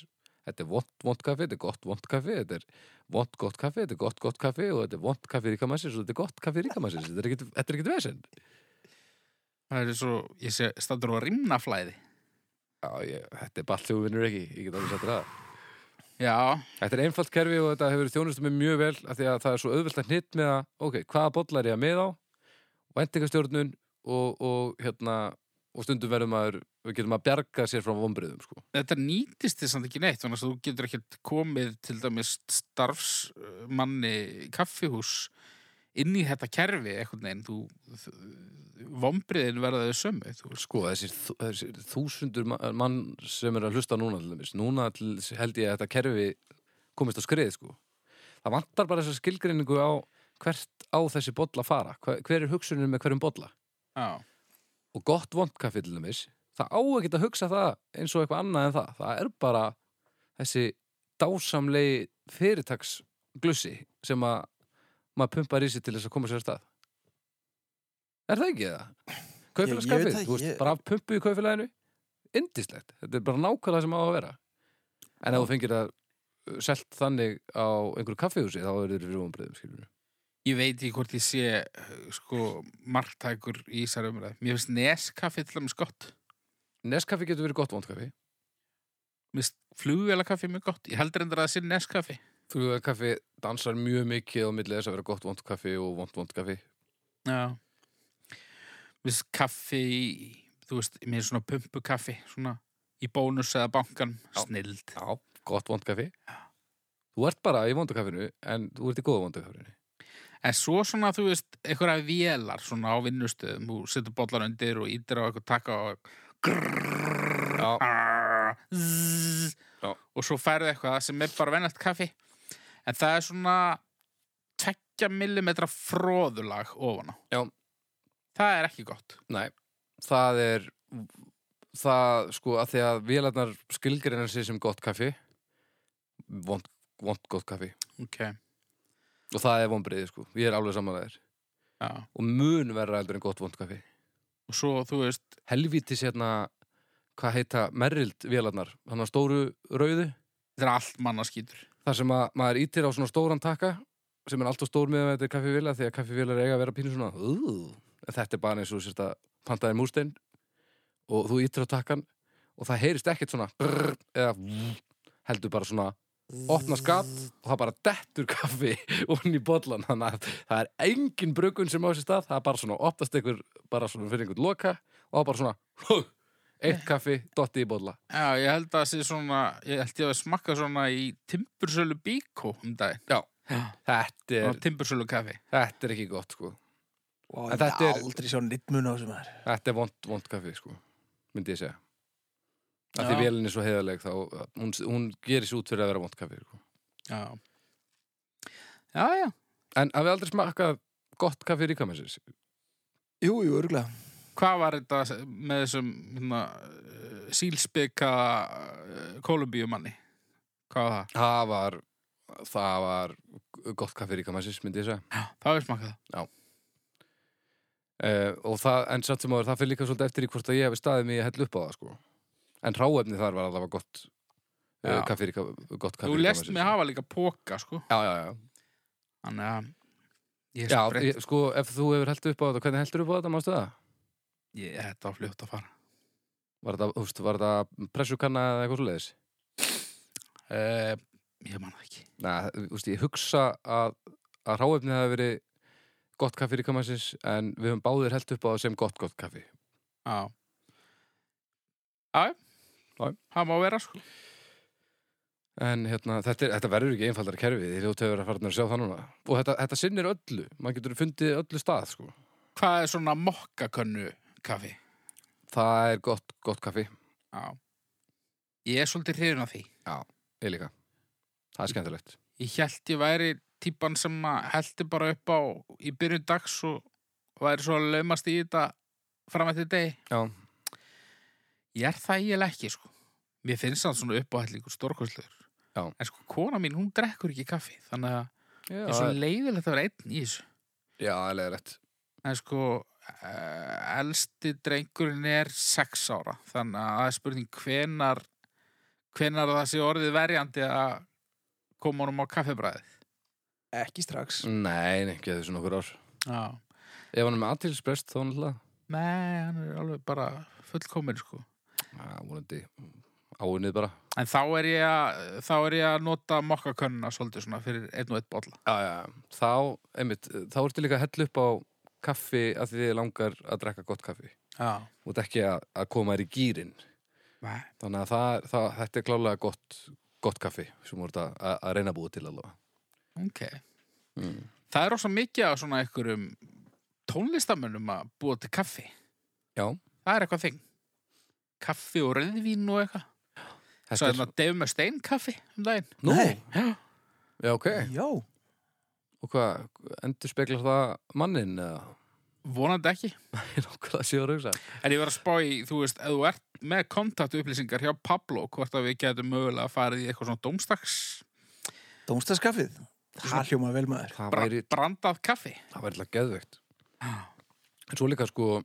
þetta er vond, vond kaffi, þetta er gott vond kaffi þetta er vond, gott kaffi, þetta er gott, gott kaffi og þetta er vond kaffi ríkamænsins og þetta er gott kaffi ríkamænsins þetta er ekkit- þetta er ekkit vesend
það er svo, ég sé, standur á rimnaflæði
Já, ég, þetta er bara allt sem þú vinnur ekki, ég get alveg sagt þér það
já,
Þetta er einfalt kerfi og þetta hefur þjónustu mig mjög vel af því að það er svo auðvelt að hnitt með að ok, hvaða bollar er ég að með á vendingastjórnun og, og hérna og stundum verðum maður við getum að bjarga sér frá vombriðum sko.
þetta nýtist þið samt ekki neitt þannig að þú getur ekkert komið til dæmis starfsmanni kaffihús inn í þetta kerfi eitthvað neginn þú, vombriðin verða þau sömu þú, veist.
sko, þessir, þú- þessir þúsundur ma- mann sem er að hlusta núna til dæmis, núna til, held ég að þetta kerfi komist á skrið sko. það vantar bara þessa skilgreiningu á hvert á þessi bolla fara hver, hver er hugsunin með hverjum bolla
já,
og gott vondkaffi til dæmis það á ekki að hugsa það eins og eitthvað annað en það það er bara þessi dásamlegi fyrirtaksglussi sem að maður pumpar í sig til þess að koma sér af stað er það ekki það?
Ég- ég veit
kaufélagskaffið,
það,
þú veist,
ég-
bara af pumpu í kaufélaginu indislegt, þetta er bara nákvæmlega sem á að vera en ef þú fengir það uh, selt þannig á einhverju kaffihúsi þá eru þér fyrir vonbreiðum skilur
ég veit ekki hvort ég sé eh, sko margtækur í þessari umræð mér finnst neskaffi til dæmis gott
Neskaffi getur verið gott vondkaffi
mér finnst flugvélakaffi mjög gott ég heldur endur að það sé neskaffi
Flugakaffi dansar mjög mikið á milli þess að vera gott vond kaffi og vond vond kaffi.
Já Viss kaffi í, Þú veist, mér er svona pumpukaffi Svona í bónus eða bankan
Já.
Snild
Já, gott vond kaffi. Þú ert bara í vondu kaffinu en þú ert í góða vondu kaffinu.
En svo svona, þú veist, einhverja vélar Svona á vinnustöðum Þú setur bollar undir og ítir á eitthvað taka og
Já,
Arr, zzz,
Já.
Og svo færðu eitthvað sem er bara vennast kaffi En það er svona Tvekja millimetra fróðulag ofan á
Já.
Það er ekki gott
næ, það er það sko að því að vélarnar skilgreinar sér sem gott kaffi vond, vond gott kaffi
Ok,
og það er vonbreiði sko, ég er alveg samanlegaðir
já
og mun verra eldur en gott vond kaffi.
Og svo, þú veist,
Helvítis hérna hvað heita merrild vélarnar, hann að stóru rauðu
þetta er allt mannaskýtur
þar sem að maður ítir á svona stóran takka sem er alltaf stór með að þetta er kaffivila því að kaffivilar eiga að vera pínu svona "Ú", en þetta er bara eins og sérst að pantaði mústein og þú ítir á takkan og það heyrist ekkert svona brrr, eða vú, heldur bara svona opna skap og það bara dettur kaffi onni í bollan þannig að það er engin brugun sem á sér stað það er bara svona opnast einhver bara svona fyrir einhvern loka og það er bara svona eitt kaffi dotti í bolla
Já, ég held að það sé svona, ég held ég að smakka svona í timbursölu bíkó um daginn.
Já. þetta
Svona
er,
timbursölu kaffi.
þetta er ekki gott sko
Ó,
En
ég
þetta
þetta
er-
aldrei sjá neitt mun á þessum þar.
Þetta er vond, vond kaffi, sko myndi ég segja að því
Já.
vélinn er svo heiðaleg þá hún, hún gerir sér út fyrir að vera vond kaffi sko.
Já. Já, já.
en að við aldrei smakka gott kaffi ríkamessins
Jú, jú, örgulega.
Hvað var þetta með þessum hérna, eh, sílspika eh, Kólumbíumanni? Hvað var það?
það var það var gott kaffi ríkamessins myndi ég segja
Það var smakkað það.
Uh, og það, en samt sem áður, það fyrir líka svolítið eftir í hvort að ég hefði staðið mig að hella upp á það sko. en ráefni þar var allavega gott uh,
Já.
kaffir í ka- gott kaffir
Þú
í
lest
kaffið,
mig
sko.
hafa líka póka, sko.
já, já, já.
Þannig að ég,
Já,
sprett,
ég, sko, ef þú hefur heldur upp á þetta, hvernig heldur upp á þetta, mástu það?
ég, þetta var fljótt að fara.
Var þetta, húst, var þetta pressukanna eða eitthvað svoleiðis?
Uh, ég man það ekki.
Nei, húst, ég hugsa að, að ráefnið hafi verið gott kaffi í kamansins, en við höfum báðir heldur upp á það sem gott, gott kaffi.
Já. Já,
Já.
já. Það má vera, sko.
En hérna, þetta, er, þetta verður ekki einfaldara kerfið, því hljótu hefur að fara að sjá það núna. Og þetta, þetta sinnir öllu, maður getur fundið öllu stað, sko.
Hvað er svona mokkakönnu kaffi?
Það er gott, gott kaffi,
Já. Ég er svolítið hrifin af því.
ég líka. Það er skemmtilegt.
Ég held ég væri típan sem að heldi bara upp á í byrjun dags og væri svo að laumast í þetta fram eftir degi.
Já,
Ég er það eiginlega ekki, sko. Mér finnst það svona uppáhællingur stórkostlegur.
Já.
En sko, kona mín, hún drekkur ekki kaffi, þannig að
já,
ég er svo leiðilegt að vera einn í þessu.
já, leðilegt.
En sko, uh, elsti drengurinn er sex ára, þannig að það er spurning hvenar, hvenar það sé orðið verjandi að koma honum á kaffibræðið.
Ekki strax.
Nei, nei, getur þessu nokkur ár.
Já.
Ef hann er með aðtilsprest, þá náttúrulega.
Nei, hann er alveg bara fullkominn, sko.
Já, vonandi áunnið bara
En þá er ég að, þá er ég að nota mokkakönnuna svolítið svona fyrir einn og einn bolla.
já, já. Þá, einmitt, þá ertu líka að hella upp á kaffi að því þið langar að drekka gott kaffi
Já.
og þetta ekki að, að koma þér í gýrin
Nei.
þannig að það, það, þetta er klálega gott, gott kaffi sem voru að, að, að reyna að búa til allavega
Ok.
mm.
Það er rosa mikið af svona einhverjum tónlistamönnum að búa til kaffi.
Já.
Það er eitthvað þing. Kaffi og rauðvín og eitthvað. Svo
Þetta
er það Dave Mustaine kaffi um daginn.
Nú,
Nei.
Já.
já, ok
Já.
Og hvað, endur speklar það mannin eða?
Vonandi ekki.
Ég er okkur að sé að hugsa
En ég var að spá í, þú veist, ef þú ert með kontaktupplýsingar hjá Pablo, hvort að við getum mögulega farið í eitthvað svona dómstags
Dómstaskaffið. Það hljóma vel maður.
Það
bra
væri,
brandað kaffi.
það væri alltaf geðveikt En svo líka sko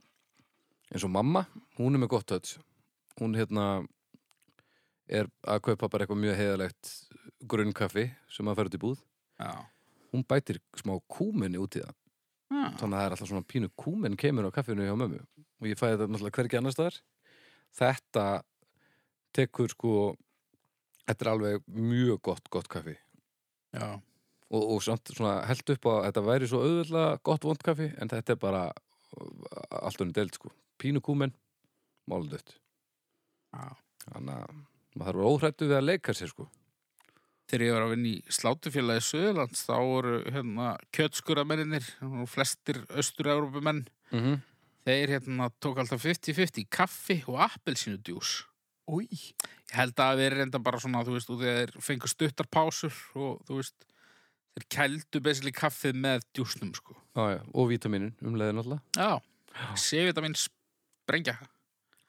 eins og mamma, hún er með gott höll hún hérna er að kaupa bara eitthvað mjög heiðalegt grunnkaffi sem að fara út í búð
Já.
hún bætir smá kúminni út í það
Já.
þannig að það er alltaf svona pínu kúminn kemur á kaffinu hjá mömmu og ég fæði þetta náttúrulega hvergi annars staðar þetta tekur sko þetta er alveg mjög gott, gott kaffi
Já.
og, og samt svona held upp á að þetta væri svo auðvöldlega gott vond kaffi en þetta er bara uh, allt unni deild sko pínu kúmen, máludutt
Já.
þannig að maður þarf að vera óhrættu við að leika sér sko
þegar ég var að vinna í slátufélagi Suðurlands þá voru hérna kjötskuramennir og flestir austur-európumenn
mm
Mhm.
-hmm.
þeir hérna tók alltaf 50-50 kaffi og appelsínudjús
Új.
ég held að við erum reynda bara svona þú veist, og þeir fengu stuttar pásur og þú veist, þeir kældu basically kaffið með djúsnum sko
já, og vítaminin um leiðin alltaf
já, sé við þetta minn sprengja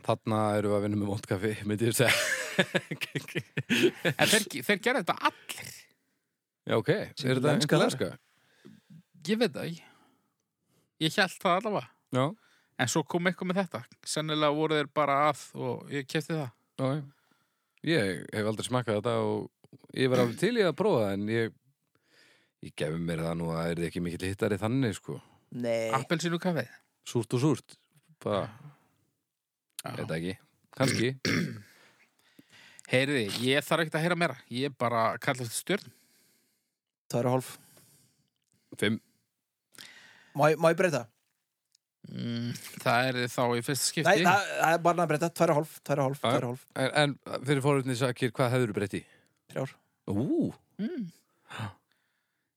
þarna eru við að vinna með vond kaffi myndi ég segja
en þeir, þeir gerðu þetta allir
já ok, er
Sem
þetta
lenska
einhver
þar?
lenska?
ég veit það ekki ég held það allavega
já,
en svo kom eitthvað með þetta sennilega voru þeir bara að og ég kefti það
já já. ég hef aldrei smakkað þetta og ég var alveg til í að prófa það en ég ég gefi mér það nú að það er ekki mikill hittari þannig sko
Nei.
Appelsínu kaffið
súrt og súrt bara,
Já.
þetta ekki, kannski
Heyriði, ég þarf ekkert að heyra meira Ég er bara að kalla þetta stjörn
Það eru hálf.
Fimm,
Má, ég- má ég breyta?
mm. Það er þá í fyrsta
Nei,
skipti
það, það er bara að breyta. Tværa hálf, tværa hálf,
Já.
tværa hálf.
en, en fyrir fórhundin sakir, hvað hefur breytti?
Þrjár.
Ú,
mm.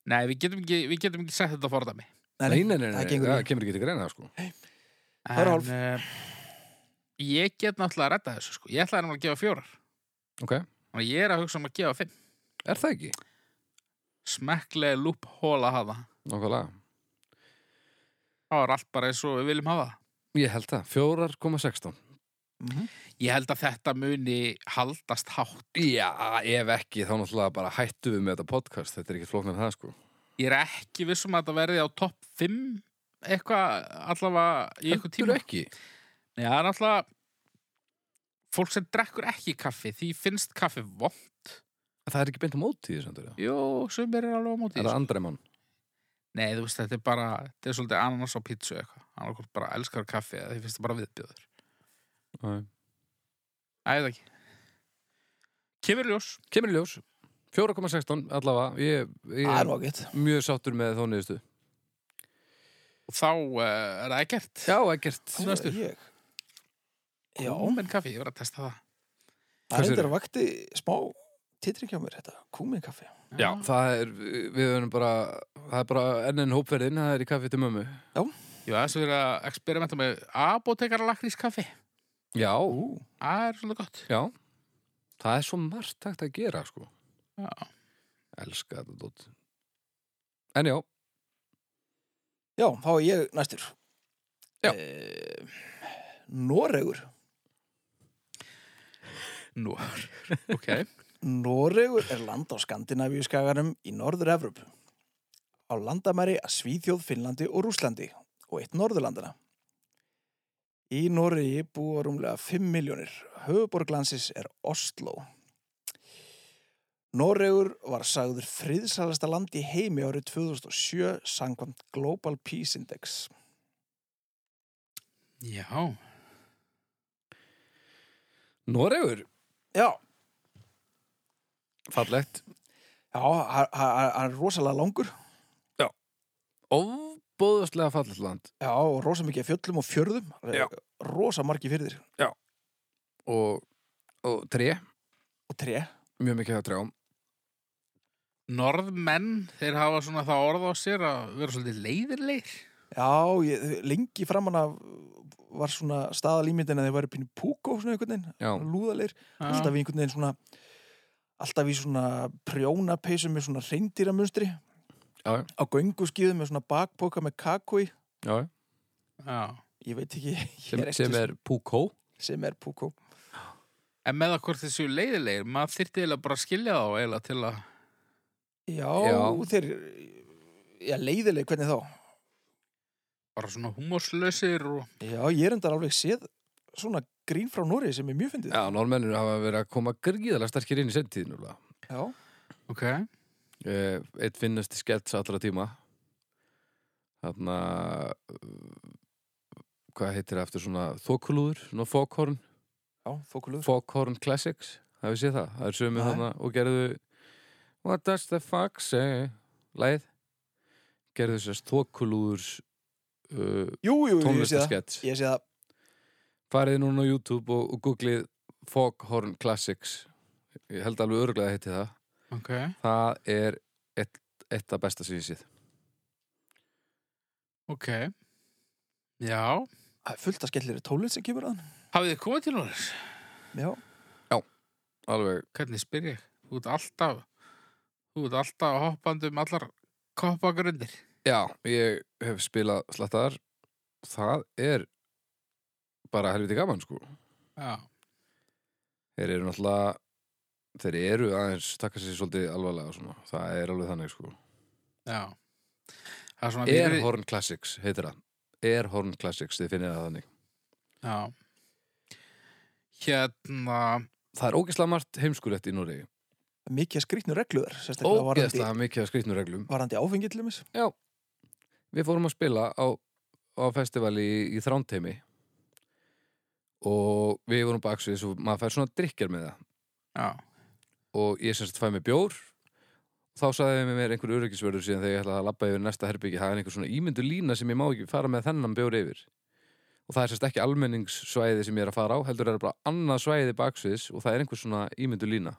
Nei, við getum ekki, við getum ekki sett þetta fordami
nei, nei, nei, nei,
það gengur
það
ekki.
kemur ekki til greina sko.
Það er hálf.
uh, Ég get náttúrulega að redda þessu sko. Ég ætlaði nefnilega að gefa fjórar
Ok,
Þannig að ég er að hugsa um að gefa fimm
er það ekki?
Smekklega lúphóla hafa
Nákvæmlega,
Það var allt bara eins og við viljum hafa það.
ég held það, 4,16
Mhm.
Ég held að þetta muni haldast hátt
Já, ef ekki, þá náttúrulega bara hættu við með þetta podcast Þetta er ekki flóknar en það, sko
um Ég er ekki vissum að þetta verði á topp 5 eitthvað allavega í eitthvað tíma
Heldur ekki
Nei, það er alltaf fólk sem drekkur ekki kaffi því finnst kaffi vond
Það er ekki beint á móti því samt er það.
Jó, sumir er alveg á móti
Er
þessu.
það andræmann?
Nei, þú veist, þetta er bara þetta er svolítið ananas á pítsu eða eitthvað annarkort bara elskar kaffi eða þið finnst það bara viðbjöður Æ, ég veit ekki Kemur í ljós
Kemur í ljós 4,16 allavega Ég, ég
Það
er
er nokkið.
mjög sáttur með þá niðurstu
og þá uh, er það ekkert
Já, ekkert
Snöstur.
Ég. Já,
Kúmen kaffi, ég var að testa það
það
Hvað
er þetta
segirðu?
vakti smá titring hjá mér þetta. Kúmin kaffi.
Já, það er, við erum bara Það er bara enn enn hópferðin Það er í kaffi til mömmu
Ég var þess að vera að experimenta með apotekaralakrís kaffi
Já,
Það er svolítið gott
já Það er svo margt takt að gera sko
Já,
Elska þetta dót En já,
Já, þá er ég næstur.
Já.
Eh, Noregur.
nú Ok,
Noregur er land á Skandinavíu skaganum í norður Evrópu. Á landamæri að Svíþjóð, Finnlandi og Rúslandi og eitt Norðurlandana. Í Noregi búa rúmlega 5 miljónir. Höfuborglansis er Oslo. Noregur var sagður friðsalasta land í heimi árið 2007 sangkvæmt Global Peace Index.
já
Noregur
Já,
Fallegt
já, hann hann- hann er rosalega langur.
Óbóðuslega fallegt land
Já, og rosa mikið af fjöllum og fjörðum.
Já.
Rosa margi fyrir þér.
Og, og tré
Og tre.
Mjög mikið að trjám
Norðmenn, þeir hafa svona það orð á sér að vera svolítið leiðirleir
Já, ég, lengi framan af var svona staðalímyndin að þeir væri pínu púkó svona einhvern veginn,
Já,
lúðalegir alltaf í einhvern veginn svona alltaf í svona prjónapeysum með svona reyndýramunstri
já, já,
á gönguskíðum með svona bakpoka með kakói
já, já.
Já
ég veit ekki, ég
Sem,
er ekki
sem er Púkó
sem er púkó
En með það hvort þessu leiðilegir, maður þyrfti eiginlega bara að skilja þá eiginlega til að
Já,
Já.
þeir já, leiðileg hvernig þá
bara svona humorslausir og...
Já, ég er endar alveg séð svona grín frá Nóri sem er mjög fyndið
Já, norðmennir hafa verið að koma gríðalega sterkir inn í sendtíðin uh,
Já,
Ok.
Eitt finnast Eh, skets allra tíma Þarna uh, Hvað heitir það eftir svona þokulúður, svona fokhorn
já þókulegur
Foghorn Classics, hafið séð það Það er sömu
Nei.
þarna og gerðu What does the fuck say Læð Gerðu þessast þokulúðurs uh,
Jú, jú, jú, ég sé það
tónlistaskets
Ég sé það,
farið núna á YouTube og, og googlið Foghorn Classics ég held alveg örglega að heiti það
Ok.
það er eitt, eitt af besta sem ég séð
Ok. Já.
Það er fullt að skellir tólið sem kemur að hann
Hafið þið komið til núna?
Já
alveg,
Hvernig spyr ég? Þú ert alltaf, þú ert alltaf hoppandi um allar koppagrundir.
já, ég hef spilað slattaðar það er bara helviti gaman sko
Já.
þeir eru náttúrulega þeir eru aðeins taka sér svolítið alvarlega og svona. það er alveg þannig sko
Já. Það er svona... víðri-
Airhorn Classics heitir það Airhorn Classics, þið finnið það þannig
Já. Hérna...
það er ógeðslega margt heimskulegt í Noregi
mikið að skrýtnu regluðar sérstaklega varandi,
ógeðslega mikið af skrýtnum reglum
varandi áfengi til þeimis
við fórum að spila á, á festivali í, í Þrántemi og við vorum baksvið og maður fær svona drikkjar með það
Já.
og ég sem sagt fæ mér bjór þá sagði við mér einhver öryggisvörður síðan þegar ég ætlaði að labba yfir næsta herbyggi það er einhver svona ímyndu lína sem ég má ekki fara með þennan bjór yfir og það er sérst ekki almenningssvæði sem ég er að fara á heldur er það bara annað svæði baksviðs og það er einhver svona ímyndu lína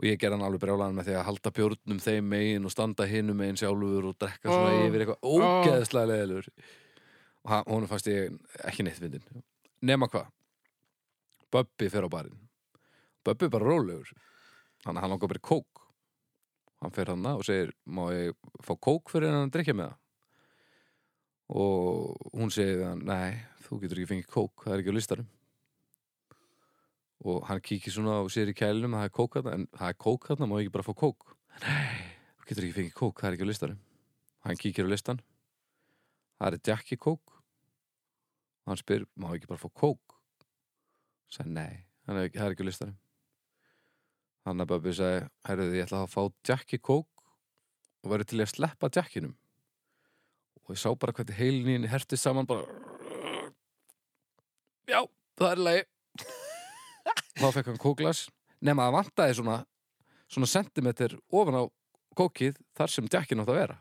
og ég gerði hann alveg brjálaðan með því að halda bjórnum þeim megin og standa hinum megin sjálfur og drekka svona
Ó,
yfir eitthvað
ó.
ógeðslega leðilur og hann- honum fannst ég ekki neitt fyndin nema hvað Böbbi fer á barinn Böbbi er bara rólegur hann, hann langar bara í kók hann fer hann og segir má ég fá kók fyrir hann að drikja með það og hún segir við hann nei, þú getur ekki fengið kók, það er ekki á listanum og hann kíkir svona og sér í kælunum að það er kók hann en það er kók hann, má ég ekki bara fá kók nei, þú getur ekki fengið kók, það er ekki á listanum hann kíkir á listan það er Jackie Coke og hann spyr, má ekki bara fá Coke sagði nei, hann er ekki, það er ekki á listanum hann að Böbbi sagði herruði, ég ætla að fá Jackie Coke og verið til í að sleppa Jackinum og ég sá bara hvernig heilin herti saman bara já, það er í lagi þá fekk hann kóklas nema að vantaði svona svona sentimeter ofan á kókið þar sem Jackin átt að vera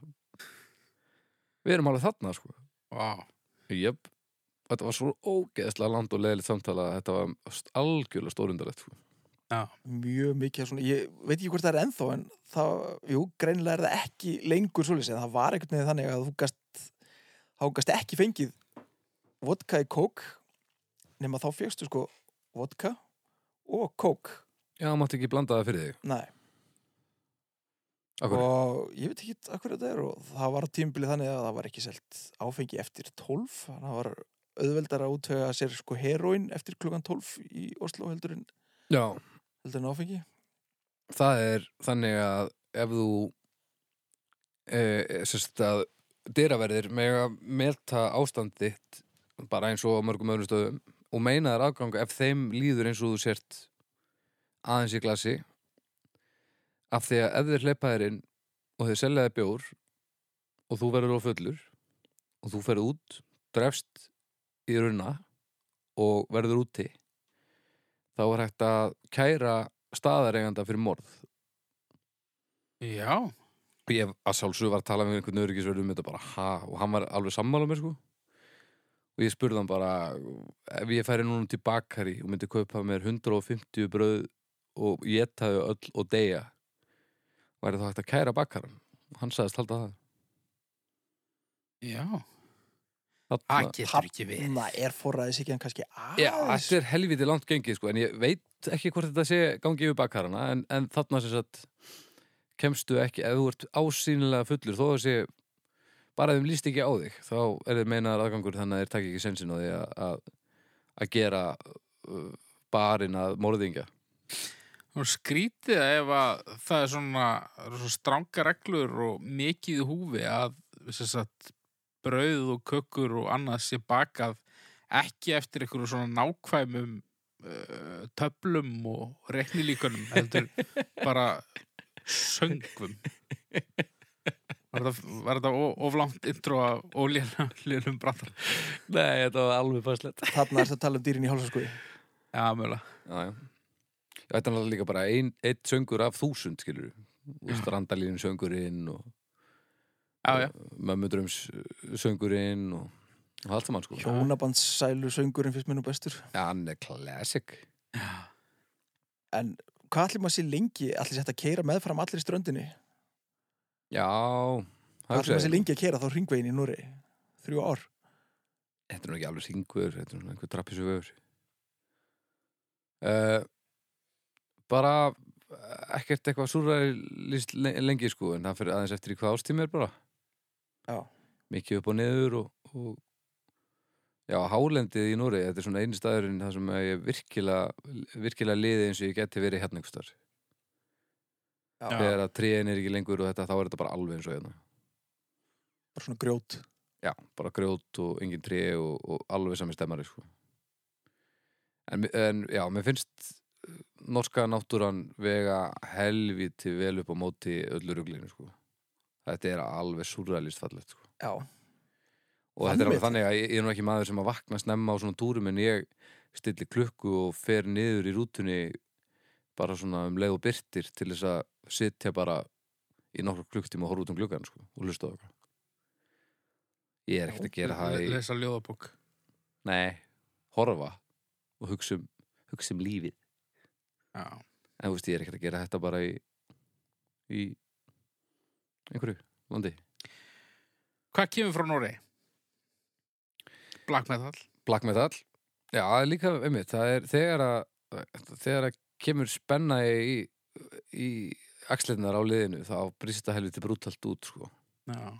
við erum alveg þarna sko
Vá.
Jöp. Þetta var svo ógeðslega land og leðilegt samtala að þetta var st- algjörlega stórundarlegt sko.
mjög mikið svona, ég veit ekki hvort það er ennþá en það, jú, greinilega er það ekki lengur svolítið, en það var einhvern veginn þannig að þú gast, þá gast ekki fengið vodka í kók nema þá fegstu sko vodka og kók
Já, mátti ekki blanda það fyrir þig
nei,
Akkur,
og ég veit ekki að hverju þetta er og það var tímbilið þannig að það var ekki selt áfengi eftir 12, þannig að það var auðveldar að útöga sér sko heroin eftir klukkan 12 í Oslo heldur en,
Já,
heldur en áfengi
það er þannig að ef þú e, sérst að dyraverðir mega melta ástand þitt bara eins og á mörgum öðrum stöðum og meina þær afgang ef þeim líður eins og þú sért aðeins í glasi af því að ef þeir hleypa þér inn og þeir selja þér bjór og þú verður á fullur og þú ferð út, drefst í runna og verður úti þá er hægt að kæra staðareganda fyrir morð
Já,
og ég að sjálfsög var að tala með einhvern öryggisverð um þetta bara ha og hann var alveg sammála mér sko og ég spurði hann bara ef ég færi núna til bakari og myndi kaupa mér 150 bröð og ég taði öll og deyja væri þá hægt að kæra bakaran og hann sagðist halda það
já. Það
Þarna,
getur ekki verið.
Þarna er forræðis ekki hann kannski
já,
aðeins
þetta er helviti langt gengið sko en ég veit ekki hvort þetta sé gangi yfir bakarana en, en þarna sem sagt kemstu ekki, ef þú ert ásýnilega fullur þó að sé bara ef þeim líst ekki á þig þá er þeir meinaðar aðgangur þannig að þeir takk ekki sensin á því að, að, að gera uh, barinn að morðingja
Og skrítið að ef að það er svona, það eru svo stranga reglur og mikið í húfi að sem sagt, brauð og kökur og annað sé bakað ekki eftir einhverju svona nákvæmum uh, töflum og reknilíkunum heldur bara söngvum. Var þetta, var þetta of- of langt intro af ólíðanum brantar?
Nei, þetta var alveg fæslegt
Þarna er þetta að tala um dýrin í hálsaskoði
Já, mögulega.
Já, já Þetta er náttúrulega líka bara ein, eitt söngur af þúsund skilur við strandalínu söngurinn og
Já, já.
mömmudröms söngurinn og, og allt saman sko
Hjónabandsælu söngurinn fyrst mér nú bestur
Já, hann er classic
En hvað allir maður sé lengi allir sé hægt að keira meðfram allir í ströndinni
Já,
Hvað allir
hugsaði
maður sé
ég.
lengi að keira þá ringvegin í Núri Þrjú ár
Þetta er nú ekki alveg syngur, þetta er nú einhver trappisögur uh, Bara eh, ekkert eitthvað súrælist lengi sko en það fyrir aðeins eftir í hvað ástími er bara
Já.
Mikið upp og niður og, og Já, hálendið í Núri, þetta er svona einu staðurinn þar sem að ég virkilega, virkilega liði eins og ég geti verið hérna einhvers þar.
Já,
Já.
Þegar að tríin er ekki lengur og þetta, þá er þetta bara alveg eins og hérna.
Bara svona grjót
já, bara grjót og engin tré og, og alveg sami stemmari sko. en, en já, mér finnst eh, norska náttúran vega helviti vel upp á móti öllu ruglinu sko. þetta er alveg súrælist fallegt sko.
Já,
og
Þannig
þetta er alveg
veit
þannig að ég, ég er nú ekki maður sem að vakna snemma á svona túrum en ég stilli klukku og fer niður í rútunni bara svona um leið og byrtir til þess að sitja bara í nokkra klukktíma og horfa út um gluggan sko, og hlusta á okkur ég er ekkert að gera það í
Lesa ljóðabók.
Nei, horfa og hugsa um, hugsa um lífið
Já.
En þú veist, ég er ekkert að gera þetta bara í í einhverju landi
Hvað kemur frá Noregi? Black metal.
Black metal Já, það er líka um mitt Það er þegar að þegar að kemur spenna í í axlirnar á liðinu þá brýst þetta helviti brútalt út sko.
Já.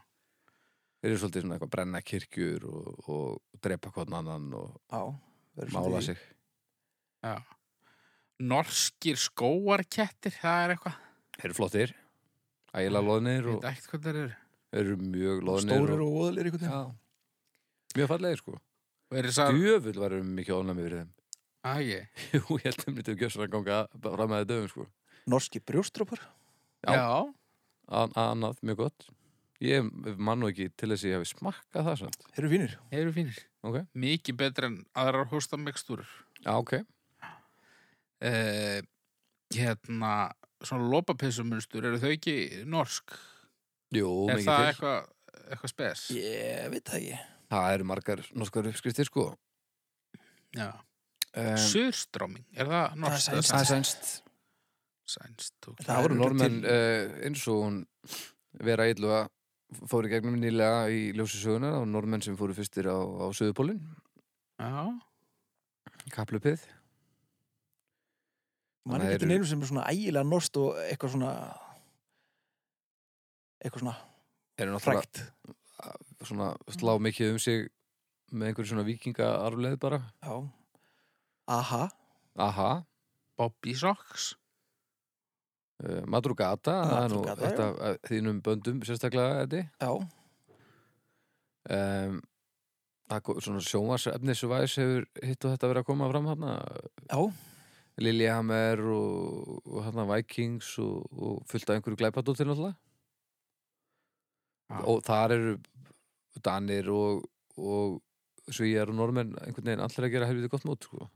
Þeir eru svolítið svona eitthvað brenna kirkjur og, og drepa hvort annan og
já verður svolítið
mála
í-
sig
norskir skóarkettir, það er eitthvað
Þeir eru flottir Ægilega loðnir
ég
og
veit ekkert hvað það eru
þeir eru mjög loðnir
Stórir og óðalir einhvern veginn
Já, Mjög fallegir sko
Verið sá,
Djöfull varum mikið ánæmi fyrir þeim
að Ah, ég,
Jú, ég held þeim lítið að gjössar að ganga fram að þeim döfum sko
Norski brjóstrópar
Já.
já,
An Annað, mjög gott Ég mann nú ekki til þess að ég hafi smakkað það samt
Þeir eru fínir
hefur fínir.
Ok.
Mikið betra en aðrar hóstamekstúrur.
Já, ok
Eh, hérna, svona lopapessumunstúr, eru þau ekki norsk?
Jú,
er
mikið
það
til
eitthvað, eitthvað spes?
Ég veit það ekki
Það eru margar norskar uppskriftir sko
Já.
um,
Eh, Surströmming, er það norsk?
sænskt.
Það er sænst
Sænst, ok.
Það
Það voru
eru
normenn
til-
uh, eins og hún vera illu að fóru í gegnum nýlega í ljósisögunar og normenn sem fóru fyrstir á, á Suðupólinn,
Já,
kaplupið.
Man er
Þannig
ekki
eru-
neynum sem er svona ægilega norst og eitthvað svona eitthvað svona
Eru náttúrulega
frægt
svona slá mikið um sig með einhverju svona vikingaarfleð bara.
Já Aha
Aha,
Bobby Socks.
uh, Madrugata, það er nú
Madrugata,
eitt
já.
af af þínum böndum sérstaklega þetta.
Já
Um, það kom- svona sjónvarsefnisvæs hefur hitt og þetta verið að koma fram hérna
Já
Lillehammer og, og hérna Vikings og, og fullt af einhverju glæpadóttir náttúrulega
Já.
og þar eru danir og, og svíjar og normenn einhvern veginn allir að gera helviti gott mót sko.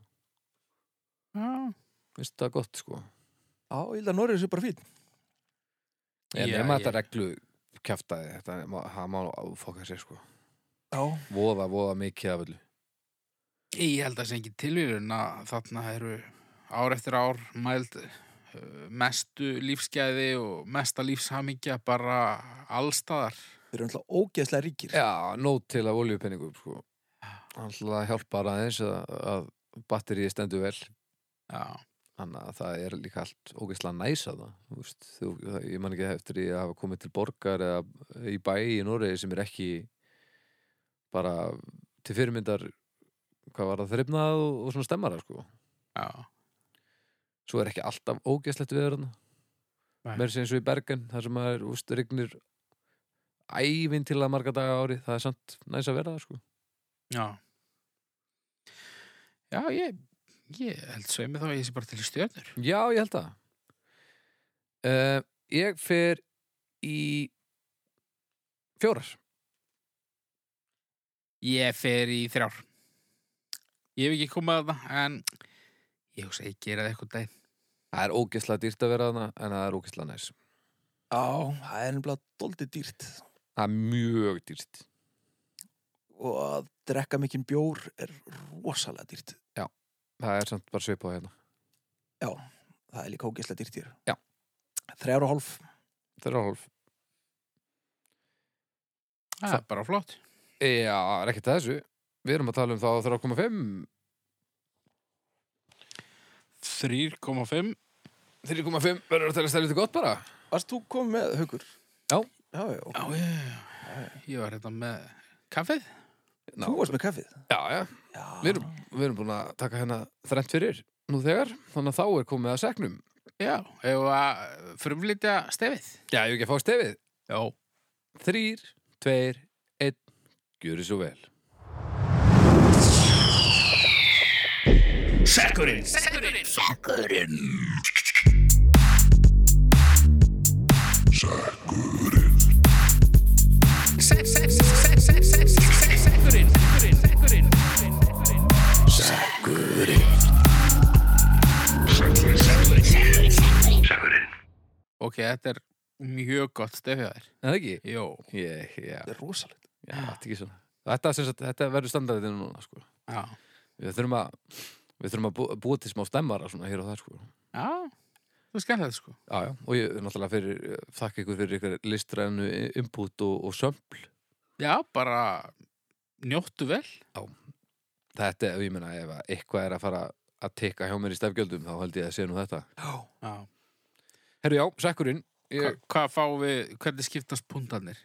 Já.
finnst það gott sko
Já, ég held að Norrið sé bara fín
en
Já,
nema
ég-
þetta reglu kjaftaði þetta, má- það má áfokka sér sko
Já
voða, voða mikið af öllu
Ég held að það sé ekki tilvíðun að þarna eru ár eftir ár mæld uh, mestu lífsgæði og mesta lífshamingja bara allstaðar.
Þeir eru alltaf ógeðslega ríkir
já, nót til af oljupenningum sko alltaf hjálpar aðeins að, að batterið stendur vel
Já,
þannig að það er líka allt ógeðslega næsa það, þú veist, þú, það ég man ekki eftir því að hafa komið til borgar eða í bæ í Noregi sem er ekki bara til fyrirmyndar hvað var það þreifnað og, og svona stemmara sko.
já,
svo er ekki alltaf ógeðslegt viður þarna
Nei.
mér sé eins og í Bergen þar sem maður úst, rignir ævinn til að marga daga á ári það er samt næs að vera það sko.
já. Já, ég, ég held sveimi þá að ég sé bara til í stjörnur.
já, ég held það uh, ég fer í fjórar
Ég fer í þrjár. Ég hef ekki komið að það, en ég hugsa að ég gera það eitthvað dæð.
Það er ógeðslega dýrt að vera þarna en það er ógeðslega næs.
Já, það er nefnilega doldið dýrt
Það er mjög dýrt.
og að drekka mikinn bjór er rosalega dýrt
Það er samt bara svipað hérna.
það er líka ógeðslega dýrt hér
Já.
Þrjár og hálf
Það er hálf.
Það er bara flott.
Já, það er ekkert að þessu. Við erum að tala um þá 3,5.
3,5.
3,5 verður að tala stærlítið gott bara.
Varst þú komið með haukur?
Já.
Já, já,
Já, ég, ég var hérna með kaffið.
Ná,
Þú varst með kaffið
já, já.
Já,
Við erum, við erum búin að taka hérna þrennt fyrir nú þegar. Þannig að þá er komið að segnum.
Já, hefur að frumlítja stefið.
Já, ég hef ekki að fá stefið.
Já.
Þrýr, tveir, einn. Gjörið svo vel.
Ok, þetta er mjög gott stefið þær.
En það ekki?
Jó.
Ég, já,
þetta er rosalegt
já, þetta er ekki svona. Þetta, sem sagt, þetta verður standardinu núna, sko.
Já.
Við þurfum að, við þurfum að bú- búa til smá stemmara svona hér og það, sko.
Já, það er skemmtilegt sko.
Já, já, og ég náttúrulega fyrir, þakka ykkur fyrir ykkur listrænu input og, og sömpl.
Já, bara njóttu vel.
Þetta, ef ég meina, ef að eitthvað er að fara að tekka hjá mér í stefgjöldum, þá held ég að sé nú þetta.
Já,
Já.
Herru, já, sekkurinn,
Hva,
ég,
hvað fáum við, hvernig skiptast puntarnir?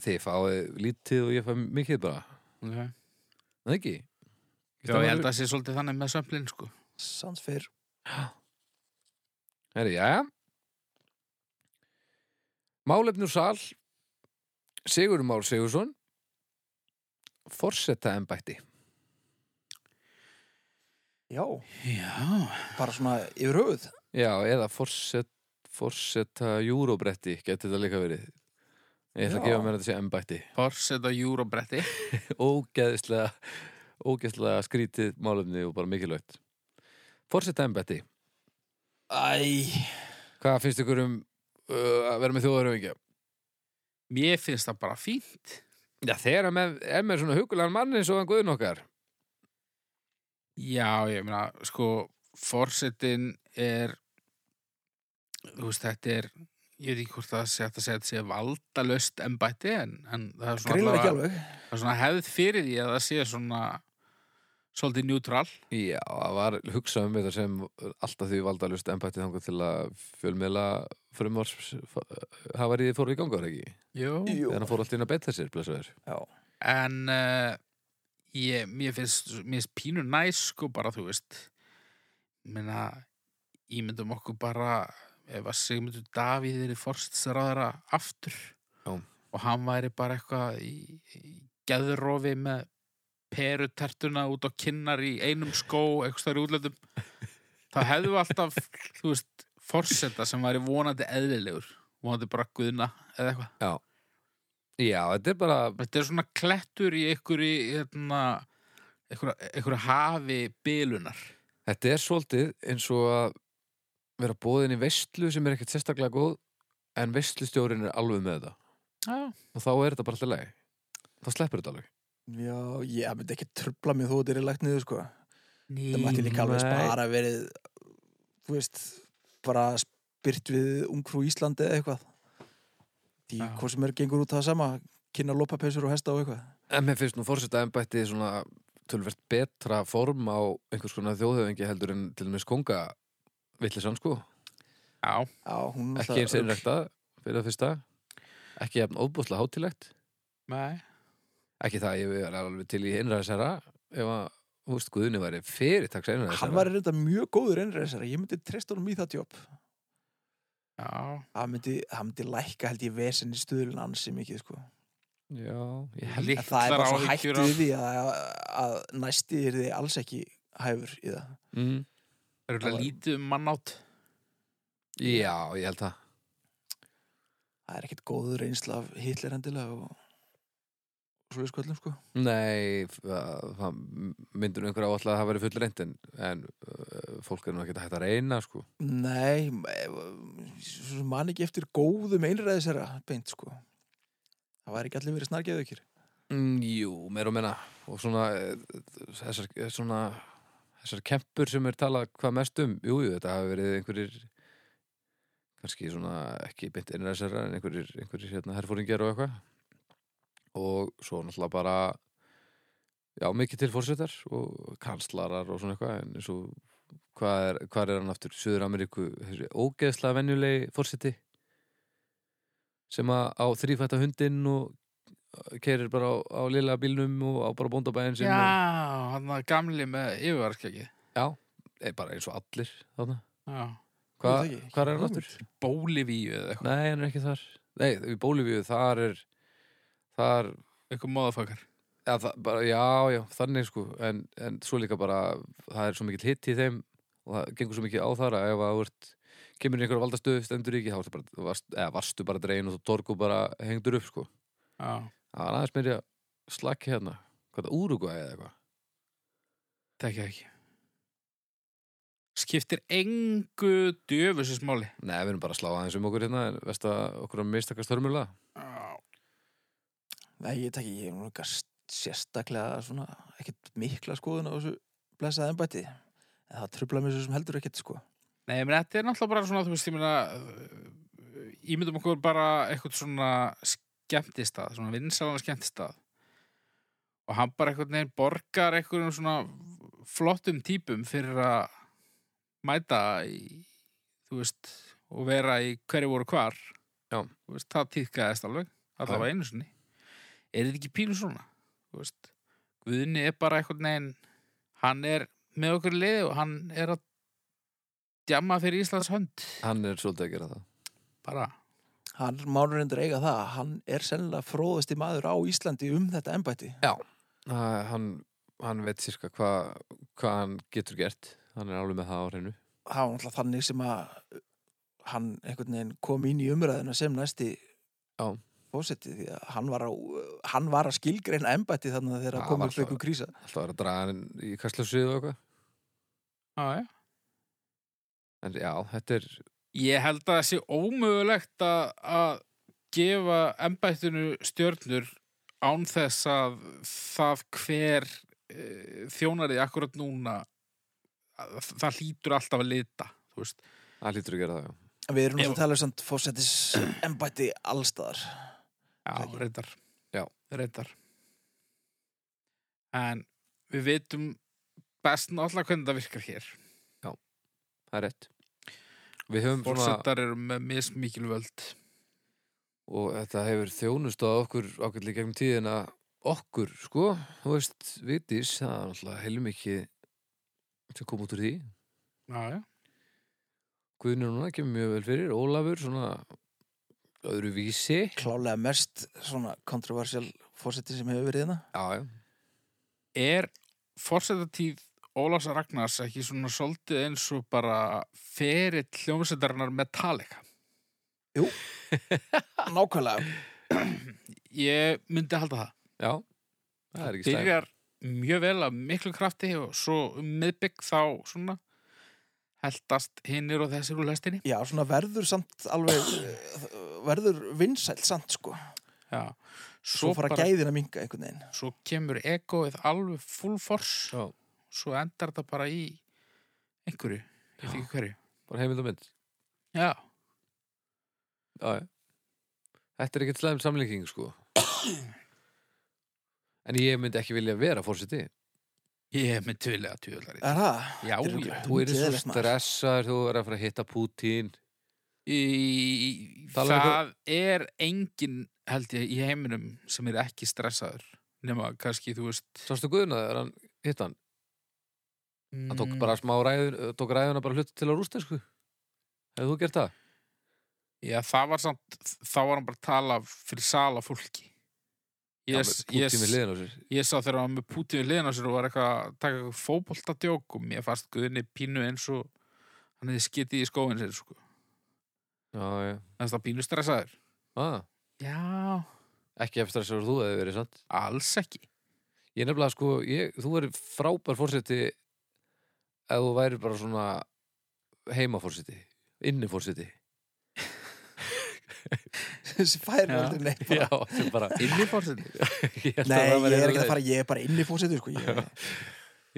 þið fáið lítið og ég fæ mikið bara.
Okay.
Það ekki?
Já, ég held að það sé svolítið þannig með sömplinn sko.
sans fyrr
Herru, já, já. Málefnur sal, Sigur Már Sigursson, forseta embætti
Já,
Já.
bara svona yfir höfuð.
Já, eða forset, forseta júróbretti geti þetta líka verið Ég ætla að
Já.
gefa mér að þetta sé embætti
Forseta júrobretti.
Ógeðslega, ógeðslega skrítið málefni og bara mikilvægt Forseta embætti
Æ,
Hvað finnst ykkur um uh, að vera með þjóðaröfingja?
Mér finnst það bara fínt.
Já, þegar hann er er með svona hugulegan mann eins og hann guðin okkar
Já, ég meina, sko, forsetin er, þú veist, þetta er, ég veit ekki hvort það sé hægt að segja að þetta sé valdalöst embætti, en, en það er svona,
grillar ekki
allavega-
alveg.
það er svona hefð fyrir því að það sé svona svolítið njútrál.
Já, það var hugsað um þetta sem alltaf því valdalust embætti þangað til að fjölmiðla frumvars hafa verið fór í gangar ekki
Jú.
Jú,
Þegar hann fór alltaf inn að beita sér, blessaður
já.
En uh, ég, mér finnst, mér finnst pínu næs, sko, bara, þú veist, ég meina, ímyndum okkur bara, ef að Sigmundur Davíð er í forsetisraðara aftur
Já.
og hann væri bara eitthvað í, í geðrofi með perutertuna út á kinnar í einum skó, eitthvað stær í útlöndum þá hefðu alltaf þú veist, forseta sem væri vonandi eðlilegur, vonandi bara guðna eða eitthvað.
Já, þetta er bara
Þetta er svona klettur í einhverju hérna, einhverju, einhverju hafi bylunar.
Þetta er svolítið eins og að vera bóðin í veistlu sem er ekkert sérstaklega góð en veistlustjórin er alveg með þetta
Já.
og þá er þetta bara alltaf leið þá sleppur þetta alveg
Já, ég myndi ekki trubla mér þó að þetta er lagt niður, sko.
Ný,
Það mætti líka alveg
Nei.
bara verið, þú veist, bara spyrt við ungfrú Íslandi eða eitthvað. Því
Já.
hvað sem er gengur út það sama, kynna lopapesur og hesta og eitthvað.
En mér finnst nú fórseta embætti svona tölvert betra form á einhvers konar þjóðhöfingi heldur en til dæmis konga vitlisann sko
Já,
Já, hún
ekki
náttúrulega-
eins innrækta fyrir það fyrsta ekki jafn óbúslega hátilegt
nei.
ekki það að ég er alveg til í innræðisera ef að, þú veist, Guðni væri fyrirtaks
Hann
innræðisera
var reynda mjög góður einræðisara, ég myndi treysta honum í það jobb.
Já.
Það myndi, það myndi lækka held ég vesenni stuðlun ansi mikið, sko.
Já, ég held
En það er
Littlar
bara svo
áhyggjur
hættið
af
því að, að næsti er þið alls ekki hæfur í það.
mm.
örugglega
Það var-
lítið um mannátt.
Já, ég held það
Það er ekkit góður reynsla af Hitler endilega og, og svo við sköllum, sko.
Nei, f- það það myndur nú einhver áallega að það væri full reynd en, en uh, fólk er nú ekki hægt að reyna sko.
Nei, eh, svo man ekki eftir góðum einræðisera beint sko. Það var ekki allir verið snargeðu ykkur.
mm, Jú, meir og menna og svona eh, þessar, eh, svona þessar kempur sem er talað hvað mest um, jú, jú, þetta hafi verið einhverjir kannski svona ekki beint innræðsera en einhverjir, einhverjir hérna, herfóringjar og eitthvað og svo náttúrulega bara já, mikið til fórsetar og kanslarar og svona eitthvað en eins og hvað er, hvað er hann aftur Suður Ameríku, þessi ógeðslega venjulegi fórseti sem að á þrýfætta hundinn og keirir bara á, á lilla bílnum og á bara bóndabæðin
Já,
sinn
hann var gamli með yfirvarskeggi.
og er bara eins og allir þarna
Já.
Hva,
Ég veit ekki,
hvað er hann
hugmynd.
aftur?
Bólivíu eða eitthvað.
Nei, hann er ekki þar Nei, í Bólivíu, þar er þar,
Eitthvað móðafakar.
ja, það, bara, já, já, þannig sko en, en svo líka bara, það er svo mikill hitt í þeim og það gengur svo mikið á þar að ef að þú ert kemur í einhverja valdastöðu, stendur ekki þá ertu bara, þú varst, eða, varstu bara dregin og þú torgu bara hengdur upp sko
Já.
Það var aðeins meiri að slakki hérna hvað það, Úrugvæði eða eitthvað
Tekja ekki. Skiptir engu djöfusismáli.
Nei, við erum bara að slá aðeins um okkur hérna en veist að okkur að mistakast hörmulega
Já.
Nei, ég takk ég er nú eitthvað sérstaklega svona, ekkit mikla skoðun á þessu blessaði embætti. En það trubla mér svo sem heldur ekkit sko.
Nei, menn, þetta er náttúrulega bara svona, þú veist, ég meina, uh, ímyndum okkur bara eitthvað svona skemmtistað, svona vinsalan skemmtistað. Og hann bara eitthvað neginn borgar eitthvað svona flottum típum fyrir að mæta í, þú veist, og vera í hverju voru hvar.
Já.
Þú veist, það týðkaðist alveg, allavega einu sinni. Er þetta ekki pínu svona? Þú veist, Guðni er bara eitthvað neginn, hann er með okkur í liði og hann er að djamma fyrir Íslands hönd
Hann er svolítið að gera það
bara,
Hann mánur reyndur eiga það, hann er sennilega fróðasti maður á Íslandi um þetta embætti.
Ha- hann, hann veit sirka hvað hva hann getur gert hann er alveg með það á hreinu
það var náttúrulega þannig sem að uh, hann einhvern veginn kom inn í umræðuna sem næsti
Já.
fósetti því að hann var, á, uh, hann var að skilgreina embætti þannig að þeirra
Það
kom
var
upp einhver
alltaf-
krísa
alltaf er að draga hann í kastljósið og eitthvað
Já, já.
en já, þetta er
Ég held að það sé ómögulegt að, að gefa embættinu stjörnur án þess að það hver e, þjónarið akkurat núna að, það hlýtur alltaf að lita þú veist.
hann lítur að gera það, já
við erum náttúrulega
Ef-
að tala um samt fósettis embætti allstaðar
Já,
Ekki?
reyndar.
Já.
Reyndar. En við veitum best náttúrulega hvernig það virkar hér.
það er rétt við höfum svona
Fórsetar eru með mismikil völd.
og þetta hefur þjónust að okkur ákveðlega gegnum tíðina okkur, sko, þú veist vitis, það er alltaf heilmikið sem kom út úr því
Já, já.
Guðnir núna kemur mjög vel fyrir, Ólafur svona öðru vísi
klálega mest svona kontroversial fósetti sem hefur verið hérna
já, já,
Er fórsetatíð Ólafs Ragnars ekki svona svolítið eins og bara ferill hljómsveitarinnar Metallica?
nákvæmlega,
Ég myndi halda það.
já það er ekki stæð
Byrjar mjög vel af miklu krafti og svo um miðbygg þá svona heldast hinnir og þessir úr lestinni.
já svona verður samt alveg eh, verður vinsælt samt sko
Já.
svo fara
bara-
gæðin að minga einhvern veginn
svo kemur egoið alveg full force
Já.
svo endar þetta bara í einhverju, ég veit ekki hverju
bara heimild og mynd
já,
Já, já. Þetta er ekkert slæm samlíking sko En ég myndi ekki vilja vera fórseti
ég er með tvilega tviðlar já,
er það?
já,
þetta er
já.
Þú eru svo
Geðveikt maður.
stressaður þú er að fara að hitta Putin
Í, í-
Talar
það er engin held ég í heiminum sem er ekki stressaður nema kannski þú veist
Sástu Guðna þegar hann hitt hann Hann
Mm.
tók bara smá ræðun Tók ræðuna bara hlut til á rústensku Hefðu þú gert það?
Mm, já, það var samt, þá var hann bara að tala fyrir sala fólki ég,
Putin
ég,
við liðin á sér
Ég sá þegar hann var með Putin við liðin á sér og var eitthvað að taka eitthvað fótboltadjók og mér fannst Guðni pínu eins og hann hefði skitið í skóin sér sko.
Já, já
Þannig að pínu stressaður.
ah,
Já.
Ekki ef stressaður þú hefði verið sant
Alls ekki.
Ég nefnilega sko ég, Þú verið frábær fórseti Ef þú væri bara svona heimafórseti Innifórseti
þessi færi
Já.
aldrei neitt bara.
Já, sem bara
Inni fórsetið.
Ég held að
Nei,
það
ég
væri
er ekki
eitthvað-
að fara, ég er bara inn í fósitu sko. ég,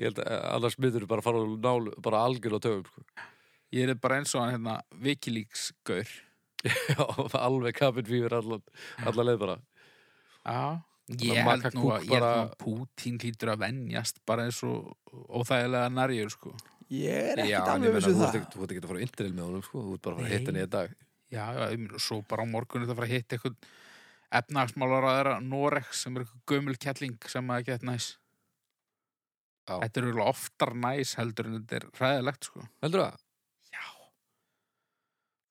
Ég held að annars myndur bara fara úr nál, bara algjörlega töfum sko.
Ég er bara eins og hann hérna Wikileaks gaur.
Já, alveg kapinn fyrir allan, allan leið bara
Já.
Þannig
Ég
að
held
Maka
nú að,
Cook
ég held
bara-
nú að Putin hlýtur að venjast bara eins og óþægilega narjur sko.
ég er
Já,
ekkert
en ég
alveg
meina,
viss um
þú ert
það
ekki- þú ert ekki að fara á interil með honum sko, þú ert bara að fara að
Nei.
hitta henni í dag
Já, já, ég meina, svo bara á morgunni það fara að hitta eitthvað efnagsmálaráðara Norek sem er eitthvað gömul kettling sem að geta næs.
Já.
Þetta er örugglega oftar næs heldur en þetta er ræðilegt sko.
Heldur það?
Já.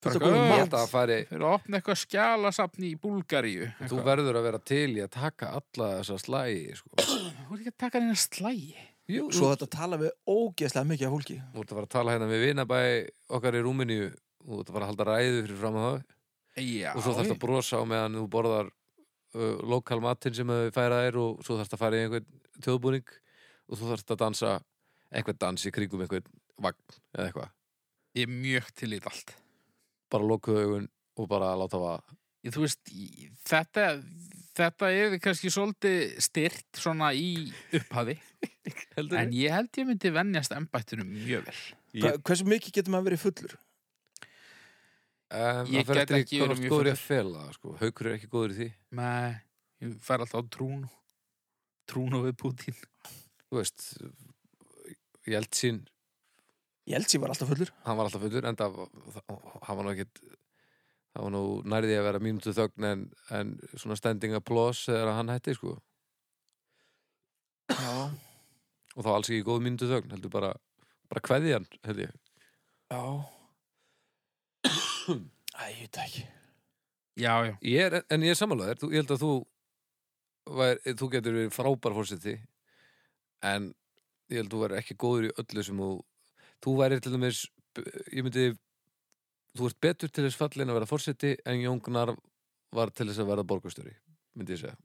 Fullt af
Bara
góðum
Ég
Mat.
held að það færi,
Þeir eru að opna eitthvað skjálasafni í Búlgaríu.
þú
eitthvað.
verður að vera til í að taka alla þessa slægi sko.
Þú er ekki að taka neina slægi.
Jú,
Svo
þú
þetta tala við ógeðslega mikið af fólki
þú ert að fara að tala hérna við vinabæ okkar í Rúminíu þú ert að fara að halda ræðu fyrir fram að það
Já.
og svo þarfst að brosa á meðan þú borðar uh, lokal matinn sem þau færa þér og svo þarfst að fara í einhvern þjóðbúning og svo þarfst að dansa einhvern dans í kringum einhvern vagn eða eitthvað,
Ég er mjög til í þetta allt.
bara lokuðu augun og bara láta það
Ég, þú veist, í- þetta, þetta er kannski svolítið styrt svona í upphafi.
heldur
en ég held ég myndi venjast embættinu mjög vel.
Ég-
Hva, Hversu mikið getur maður verið fullur?
um, það
ég
fer
get
eftir
ekki
því hvað þú
verið mjög
ert góður í að fela sko. haukur er ekki góður í því
Nei, ég fer alltaf á trúnu. Trúnu við Putin.
þú veist, Jeltsin
Ég held sér var alltaf fullur
hann var alltaf fullur enda hann var nú ekkit það var nú nærði að vera mínútu þögn en, en svona standing applause þegar hann hætti sko
Já,
og þá alls ekki góð mínútu þögn heldur bara, bara kveðjan held ég
já Æ, ég veit það ekki
Já, já.
Ég er, en ég er samanlega, þú, ég held að þú væri, þú getur verið frábær fórseti en ég held þú væri ekki góður í öllu sem þú þú væri til dæmis ég myndi þú ert betur til þess fallin að vera fórseti en Jóngnar var til þess að verða borgarstjóri myndi ég segja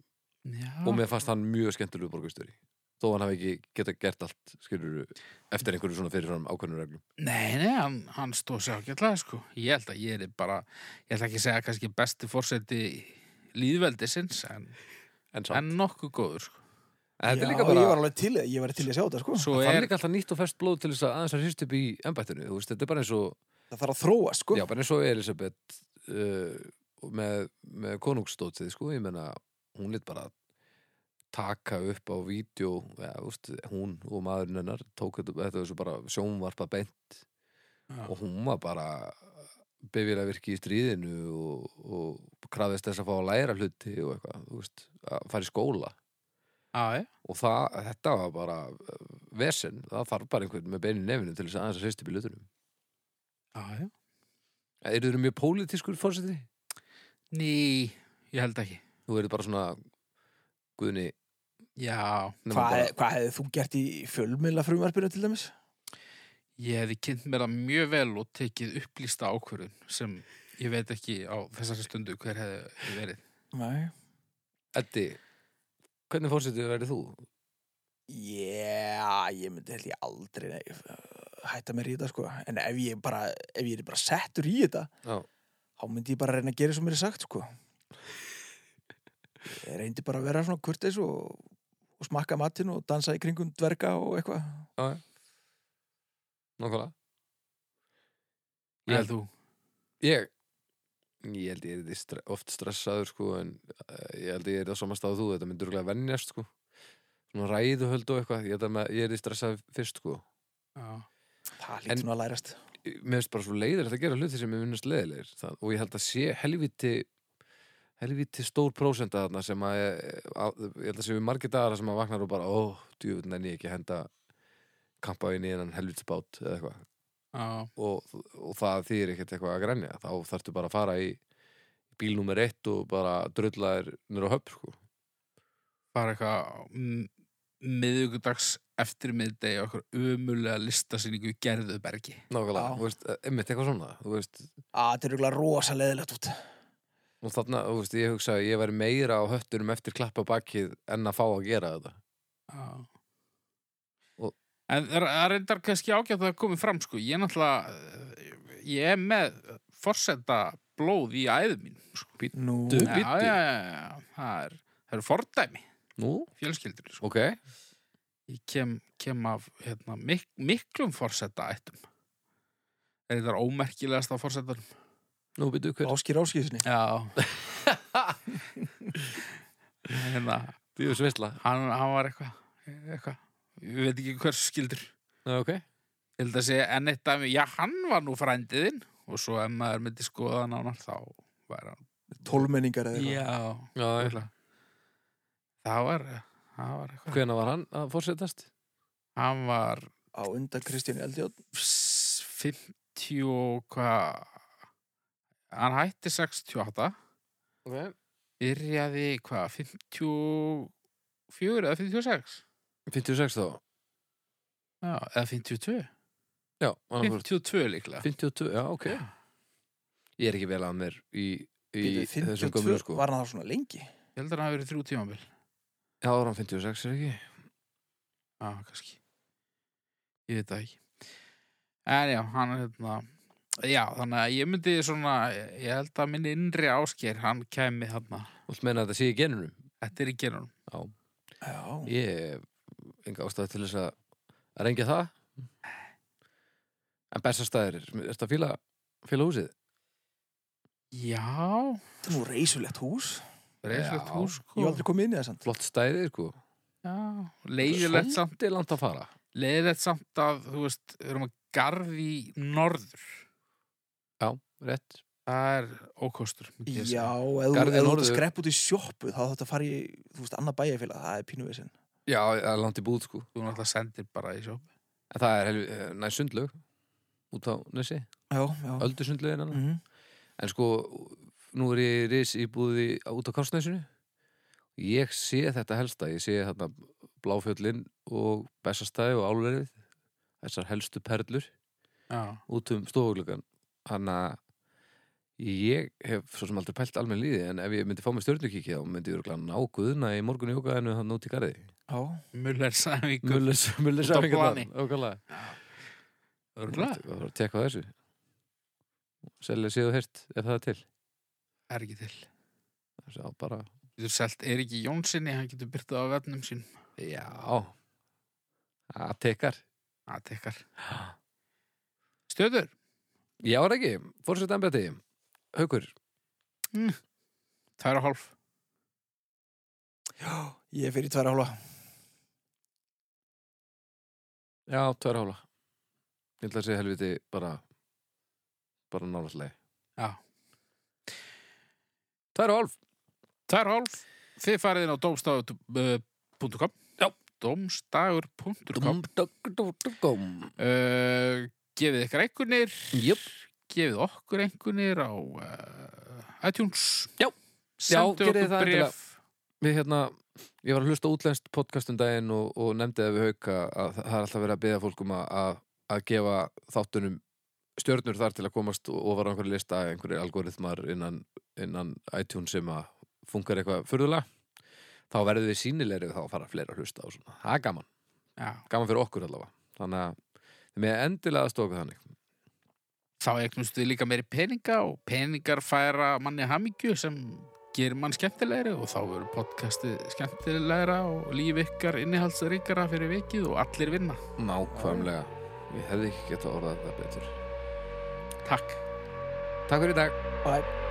Já.
og mér fannst hann mjög skemmtulegu borgarstjóri þó hann hafi ekki geta gert allt skilur eftir einhverju svona fyrirfram ákveðnum reglum
Nei, nei, hann, hann stóð sér ágætlega, sko. Ég held að ég er bara, ég held ekki að segja kannski besti fórseti líðveldisins, en,
en, samt.
en nokkuð góður, sko.
en þetta
Já,
er líka
Ég var
bara
alveg til, í- ég var til í að sjá þetta, sko.
Svo
það er
er,
líka alltaf nýtt og fest blóð til þess að aðeins að hrist upp í embættinu þú veist, þetta er bara eins og
Það þarf að þróa, sko.
Já, bara eins og Elisabeth uh, með, með konungstótið, sko, ég menna hún lit bara taka upp á vídeo, ja, úst, hún og maðurinn hennar tók þetta, þetta var svo bara sjónvarpa beint
Já.
og hún var bara bifir að virki í stríðinu og, og krafðist þess að fá að læra hluti og eitthvað, þú veist, að fara í skóla
já, já,
og það, þetta var bara uh, vesen, það þarf bara einhvern með beinu nefnum til þess að aðeins að sýst upp í hlutunum
já, já.
Eru þeir mjög pólitískur fórseti?
Ný, ég held ekki.
Þú verður bara svona Guðni
Já,
nema
Hvað,
bara-
hvað hefði þú gert í fjölmiðla frumvarpinu til dæmis?
ég hefði kynnt mér það mjög vel og tekið upplýsta ákvörðun sem ég veit ekki á þessari stundu hver hefði verið.
Nei.
Eddi, hvernig fórsetið verður þú?
Já, ég myndi held ég aldrei nei, hætta mér í þetta, sko. En ef ég, bara, ef ég er bara settur í þetta,
Já.
þá myndi ég bara reyna að gera sem mér er sagt, sko. Ég reyndi bara að vera svona kurteis og, og smakka matinn og dansa í kringum dverga og eitthvað.
Nákvæmlega Ég
Ég
held-
held þú.
Ég Ég held ég er stre oft stressaður sko en eh, ég held ég er það samast á þú þetta myndur örugglega venjast sko svona ræðuhöld og eitthvað ég, held að með, ég er stressað fyrst sko
Já.
Það
En-
lítið nú að lærast.
Ég- mér finnst bara svo leiðilegt að gera hluti sem ég finnst leiðilegir Það- og ég held að sé helviti helviti stór prósenda þarna sem að, að ég held að sé við margir dagar sem að vaknar og bara ó, djúvöld nenni ég ekki að henda kampa inn í innan helvitsbát eða eitthvað
Já,
og, og það þýr ekkert eitthvað að grænja þá þarftu bara að fara í bíl nummer eitt og bara drulla þér nýra á höfn sko.
bara eitthvað miðugudags eftir miðdegi okkur umulega listasýningu í Gerðubergi.
nákvæmlega,
Já.
þú veist, e, einmitt eitthvað svona þú veist,
Að þetta er eiginlega rosa leðilegt út.
og þarna, þú veist, ég hugsa að ég væri meira á höttunum eftir klappa bakið en að fá að gera þetta
Já.
Og-
En það er- það reyndar kannski ágætt að það komi fram sko. Ég er náttúrulega, ég er með forsenda blóð í æðum mín. Sko.
Nú,
Du-
Já,
Bíddu.
já, já, já, það er, það eru fordæmi,
nú,
fjölskyldur. Sko.
ok
Ég kem, kem af hérna, mik miklum forsenda ættum. Reyndar ómerkilegasta forsendanum.
Nú byrju hver
áskýr áskýrsinni.
Já. hérna,
Þú er svisla
hann, hann var eitthvað, eitthvað, ég veit ekki hversu skildur.
Ok
Ég held að segja enn eitt dæmi, já hann var nú frændiðinn og svo ef maður myndi skoða hann ána þá var hann.
Tólmenningar eða eitthvað.
Já,
Já,
örugglega. það var, það var eitthvað.
Hvena var hann að fórsetast?
Hann var
Á undan Kristjáni Eldjón.
s- 50 og hvað, hann hætti 68,
Ok
byrjaði hvað, 54 eða 56?
56 þá
Já, eða 52?
Já, hann var
52 líklega.
52, já ok Ég er ekki vel að mér í, í þessum gömlu
52
sko
var hann það svona lengi.
Ég held að hann hafi verið þrjú tímambil.
Já, var hann 56 er ekki
Já, kannski. Ég veit það ekki. En já, hann er hérna... Já, þannig að ég myndi svona... Ég held að minn innri ásker, hann kæmi þarna.
Þú meina að þetta sé í genunum
Þetta er í gerunum.
Já.
Ég hef enga ástæði til þess að að rengja það En bestastæðir, er þetta fíla, fíla húsið?
Já,
Þetta er nú reysulegt hús.
reyslegt
Já.
hús,
Ég hef
sko.
aldrei komið inn í það samt.
Flott stæði, sko
Já, leiðilegt samt.
Svolítið langt að fara
Leiðilegt samt að, þú veist, við erum að garði norður.
Rétt
Það er ókostur, myndi ég
Já,
segja.
ef þú- ef
Garðinn
þú ert að
norður.
skrepp út í sjoppu þá þetta fari í, þú veist, annað bæjarfélag, það er pínuvisinn.
Já, það er langt í búð, sko
Þú náttúrulega sendir bara í sjópi.
En það er helvi, næst sundlög Út á nesi,
Já, já.
öldusundlögin annar
Mm
En sko, nú er ég ris í búði á- út á Kársnesinu ég sé þetta helsta, ég sé þarna bláfjöllin og bessastæði og álverið þessar helstu perlur
já,
út um stofuglugan þannig að ég hef svo sem aldrei pælt almenn líði en ef ég myndi fá mér stjörnukíki þá myndi ég örgulega ná guðna í morgun jókaðinu hann út í garði
Já,
Muller sæfingur
Mullis
Út á plani.
Ókvæmlega
Örugglega.
Það var að tekka á þessu Selja síðu hirt ef það er til
er ekki til
Sá bara
Getur selt Eriki Jónssoni, hann getur byrtað á vefnum sín
Já Það tekkar
Það tekkar Stöður,
Já er ekki, fórsett embæti Haukur,
tæra hálf
ég fyrir tværa hálfa.
já, tverra hóla Ég ætla að segja helviti bara bara nálaðslega
Já.
Tverra hálf
Tæra hálf, þið farið inn á eh, domstagur.com Já domstagur.com
Dum-dum-dum-dum-dum.
uh, Gefið ykkur einhvernir
Jöp,
gefið okkur einhvernir á uh, iTunes
Já.
Sendu
Já, gerið
okkur
það endilega.
bref
við hérna ég var að hlusta á útlenskt podcast um daginn og, og nefndi það við hauka að það er alltaf verið að beða fólkum að- að, að gefa þáttunum stjörnur þar til að komast og og var á einhverju lista einhverju algoritmar innan, innan iTunes sem að funkar eitthvað furðulega þá verður við sýnilegri þá fara fleira að hlusta og svona, það er gaman,
Já,
gaman fyrir okkur allavega þannig að þið með endilega að stóka þannig
þá eignumstu þið líka meiri peninga og peningar færa manni hamingju sem gerir mann skemmtilegri og þá verður podcastið skemmtilegra og líf ykkar innihaldsríkara fyrir vikið og allir vinna.
nákvæmlega, ég hefði ekki getað orðað þetta betur
Takk.
Takk fyrir í dag
Bye.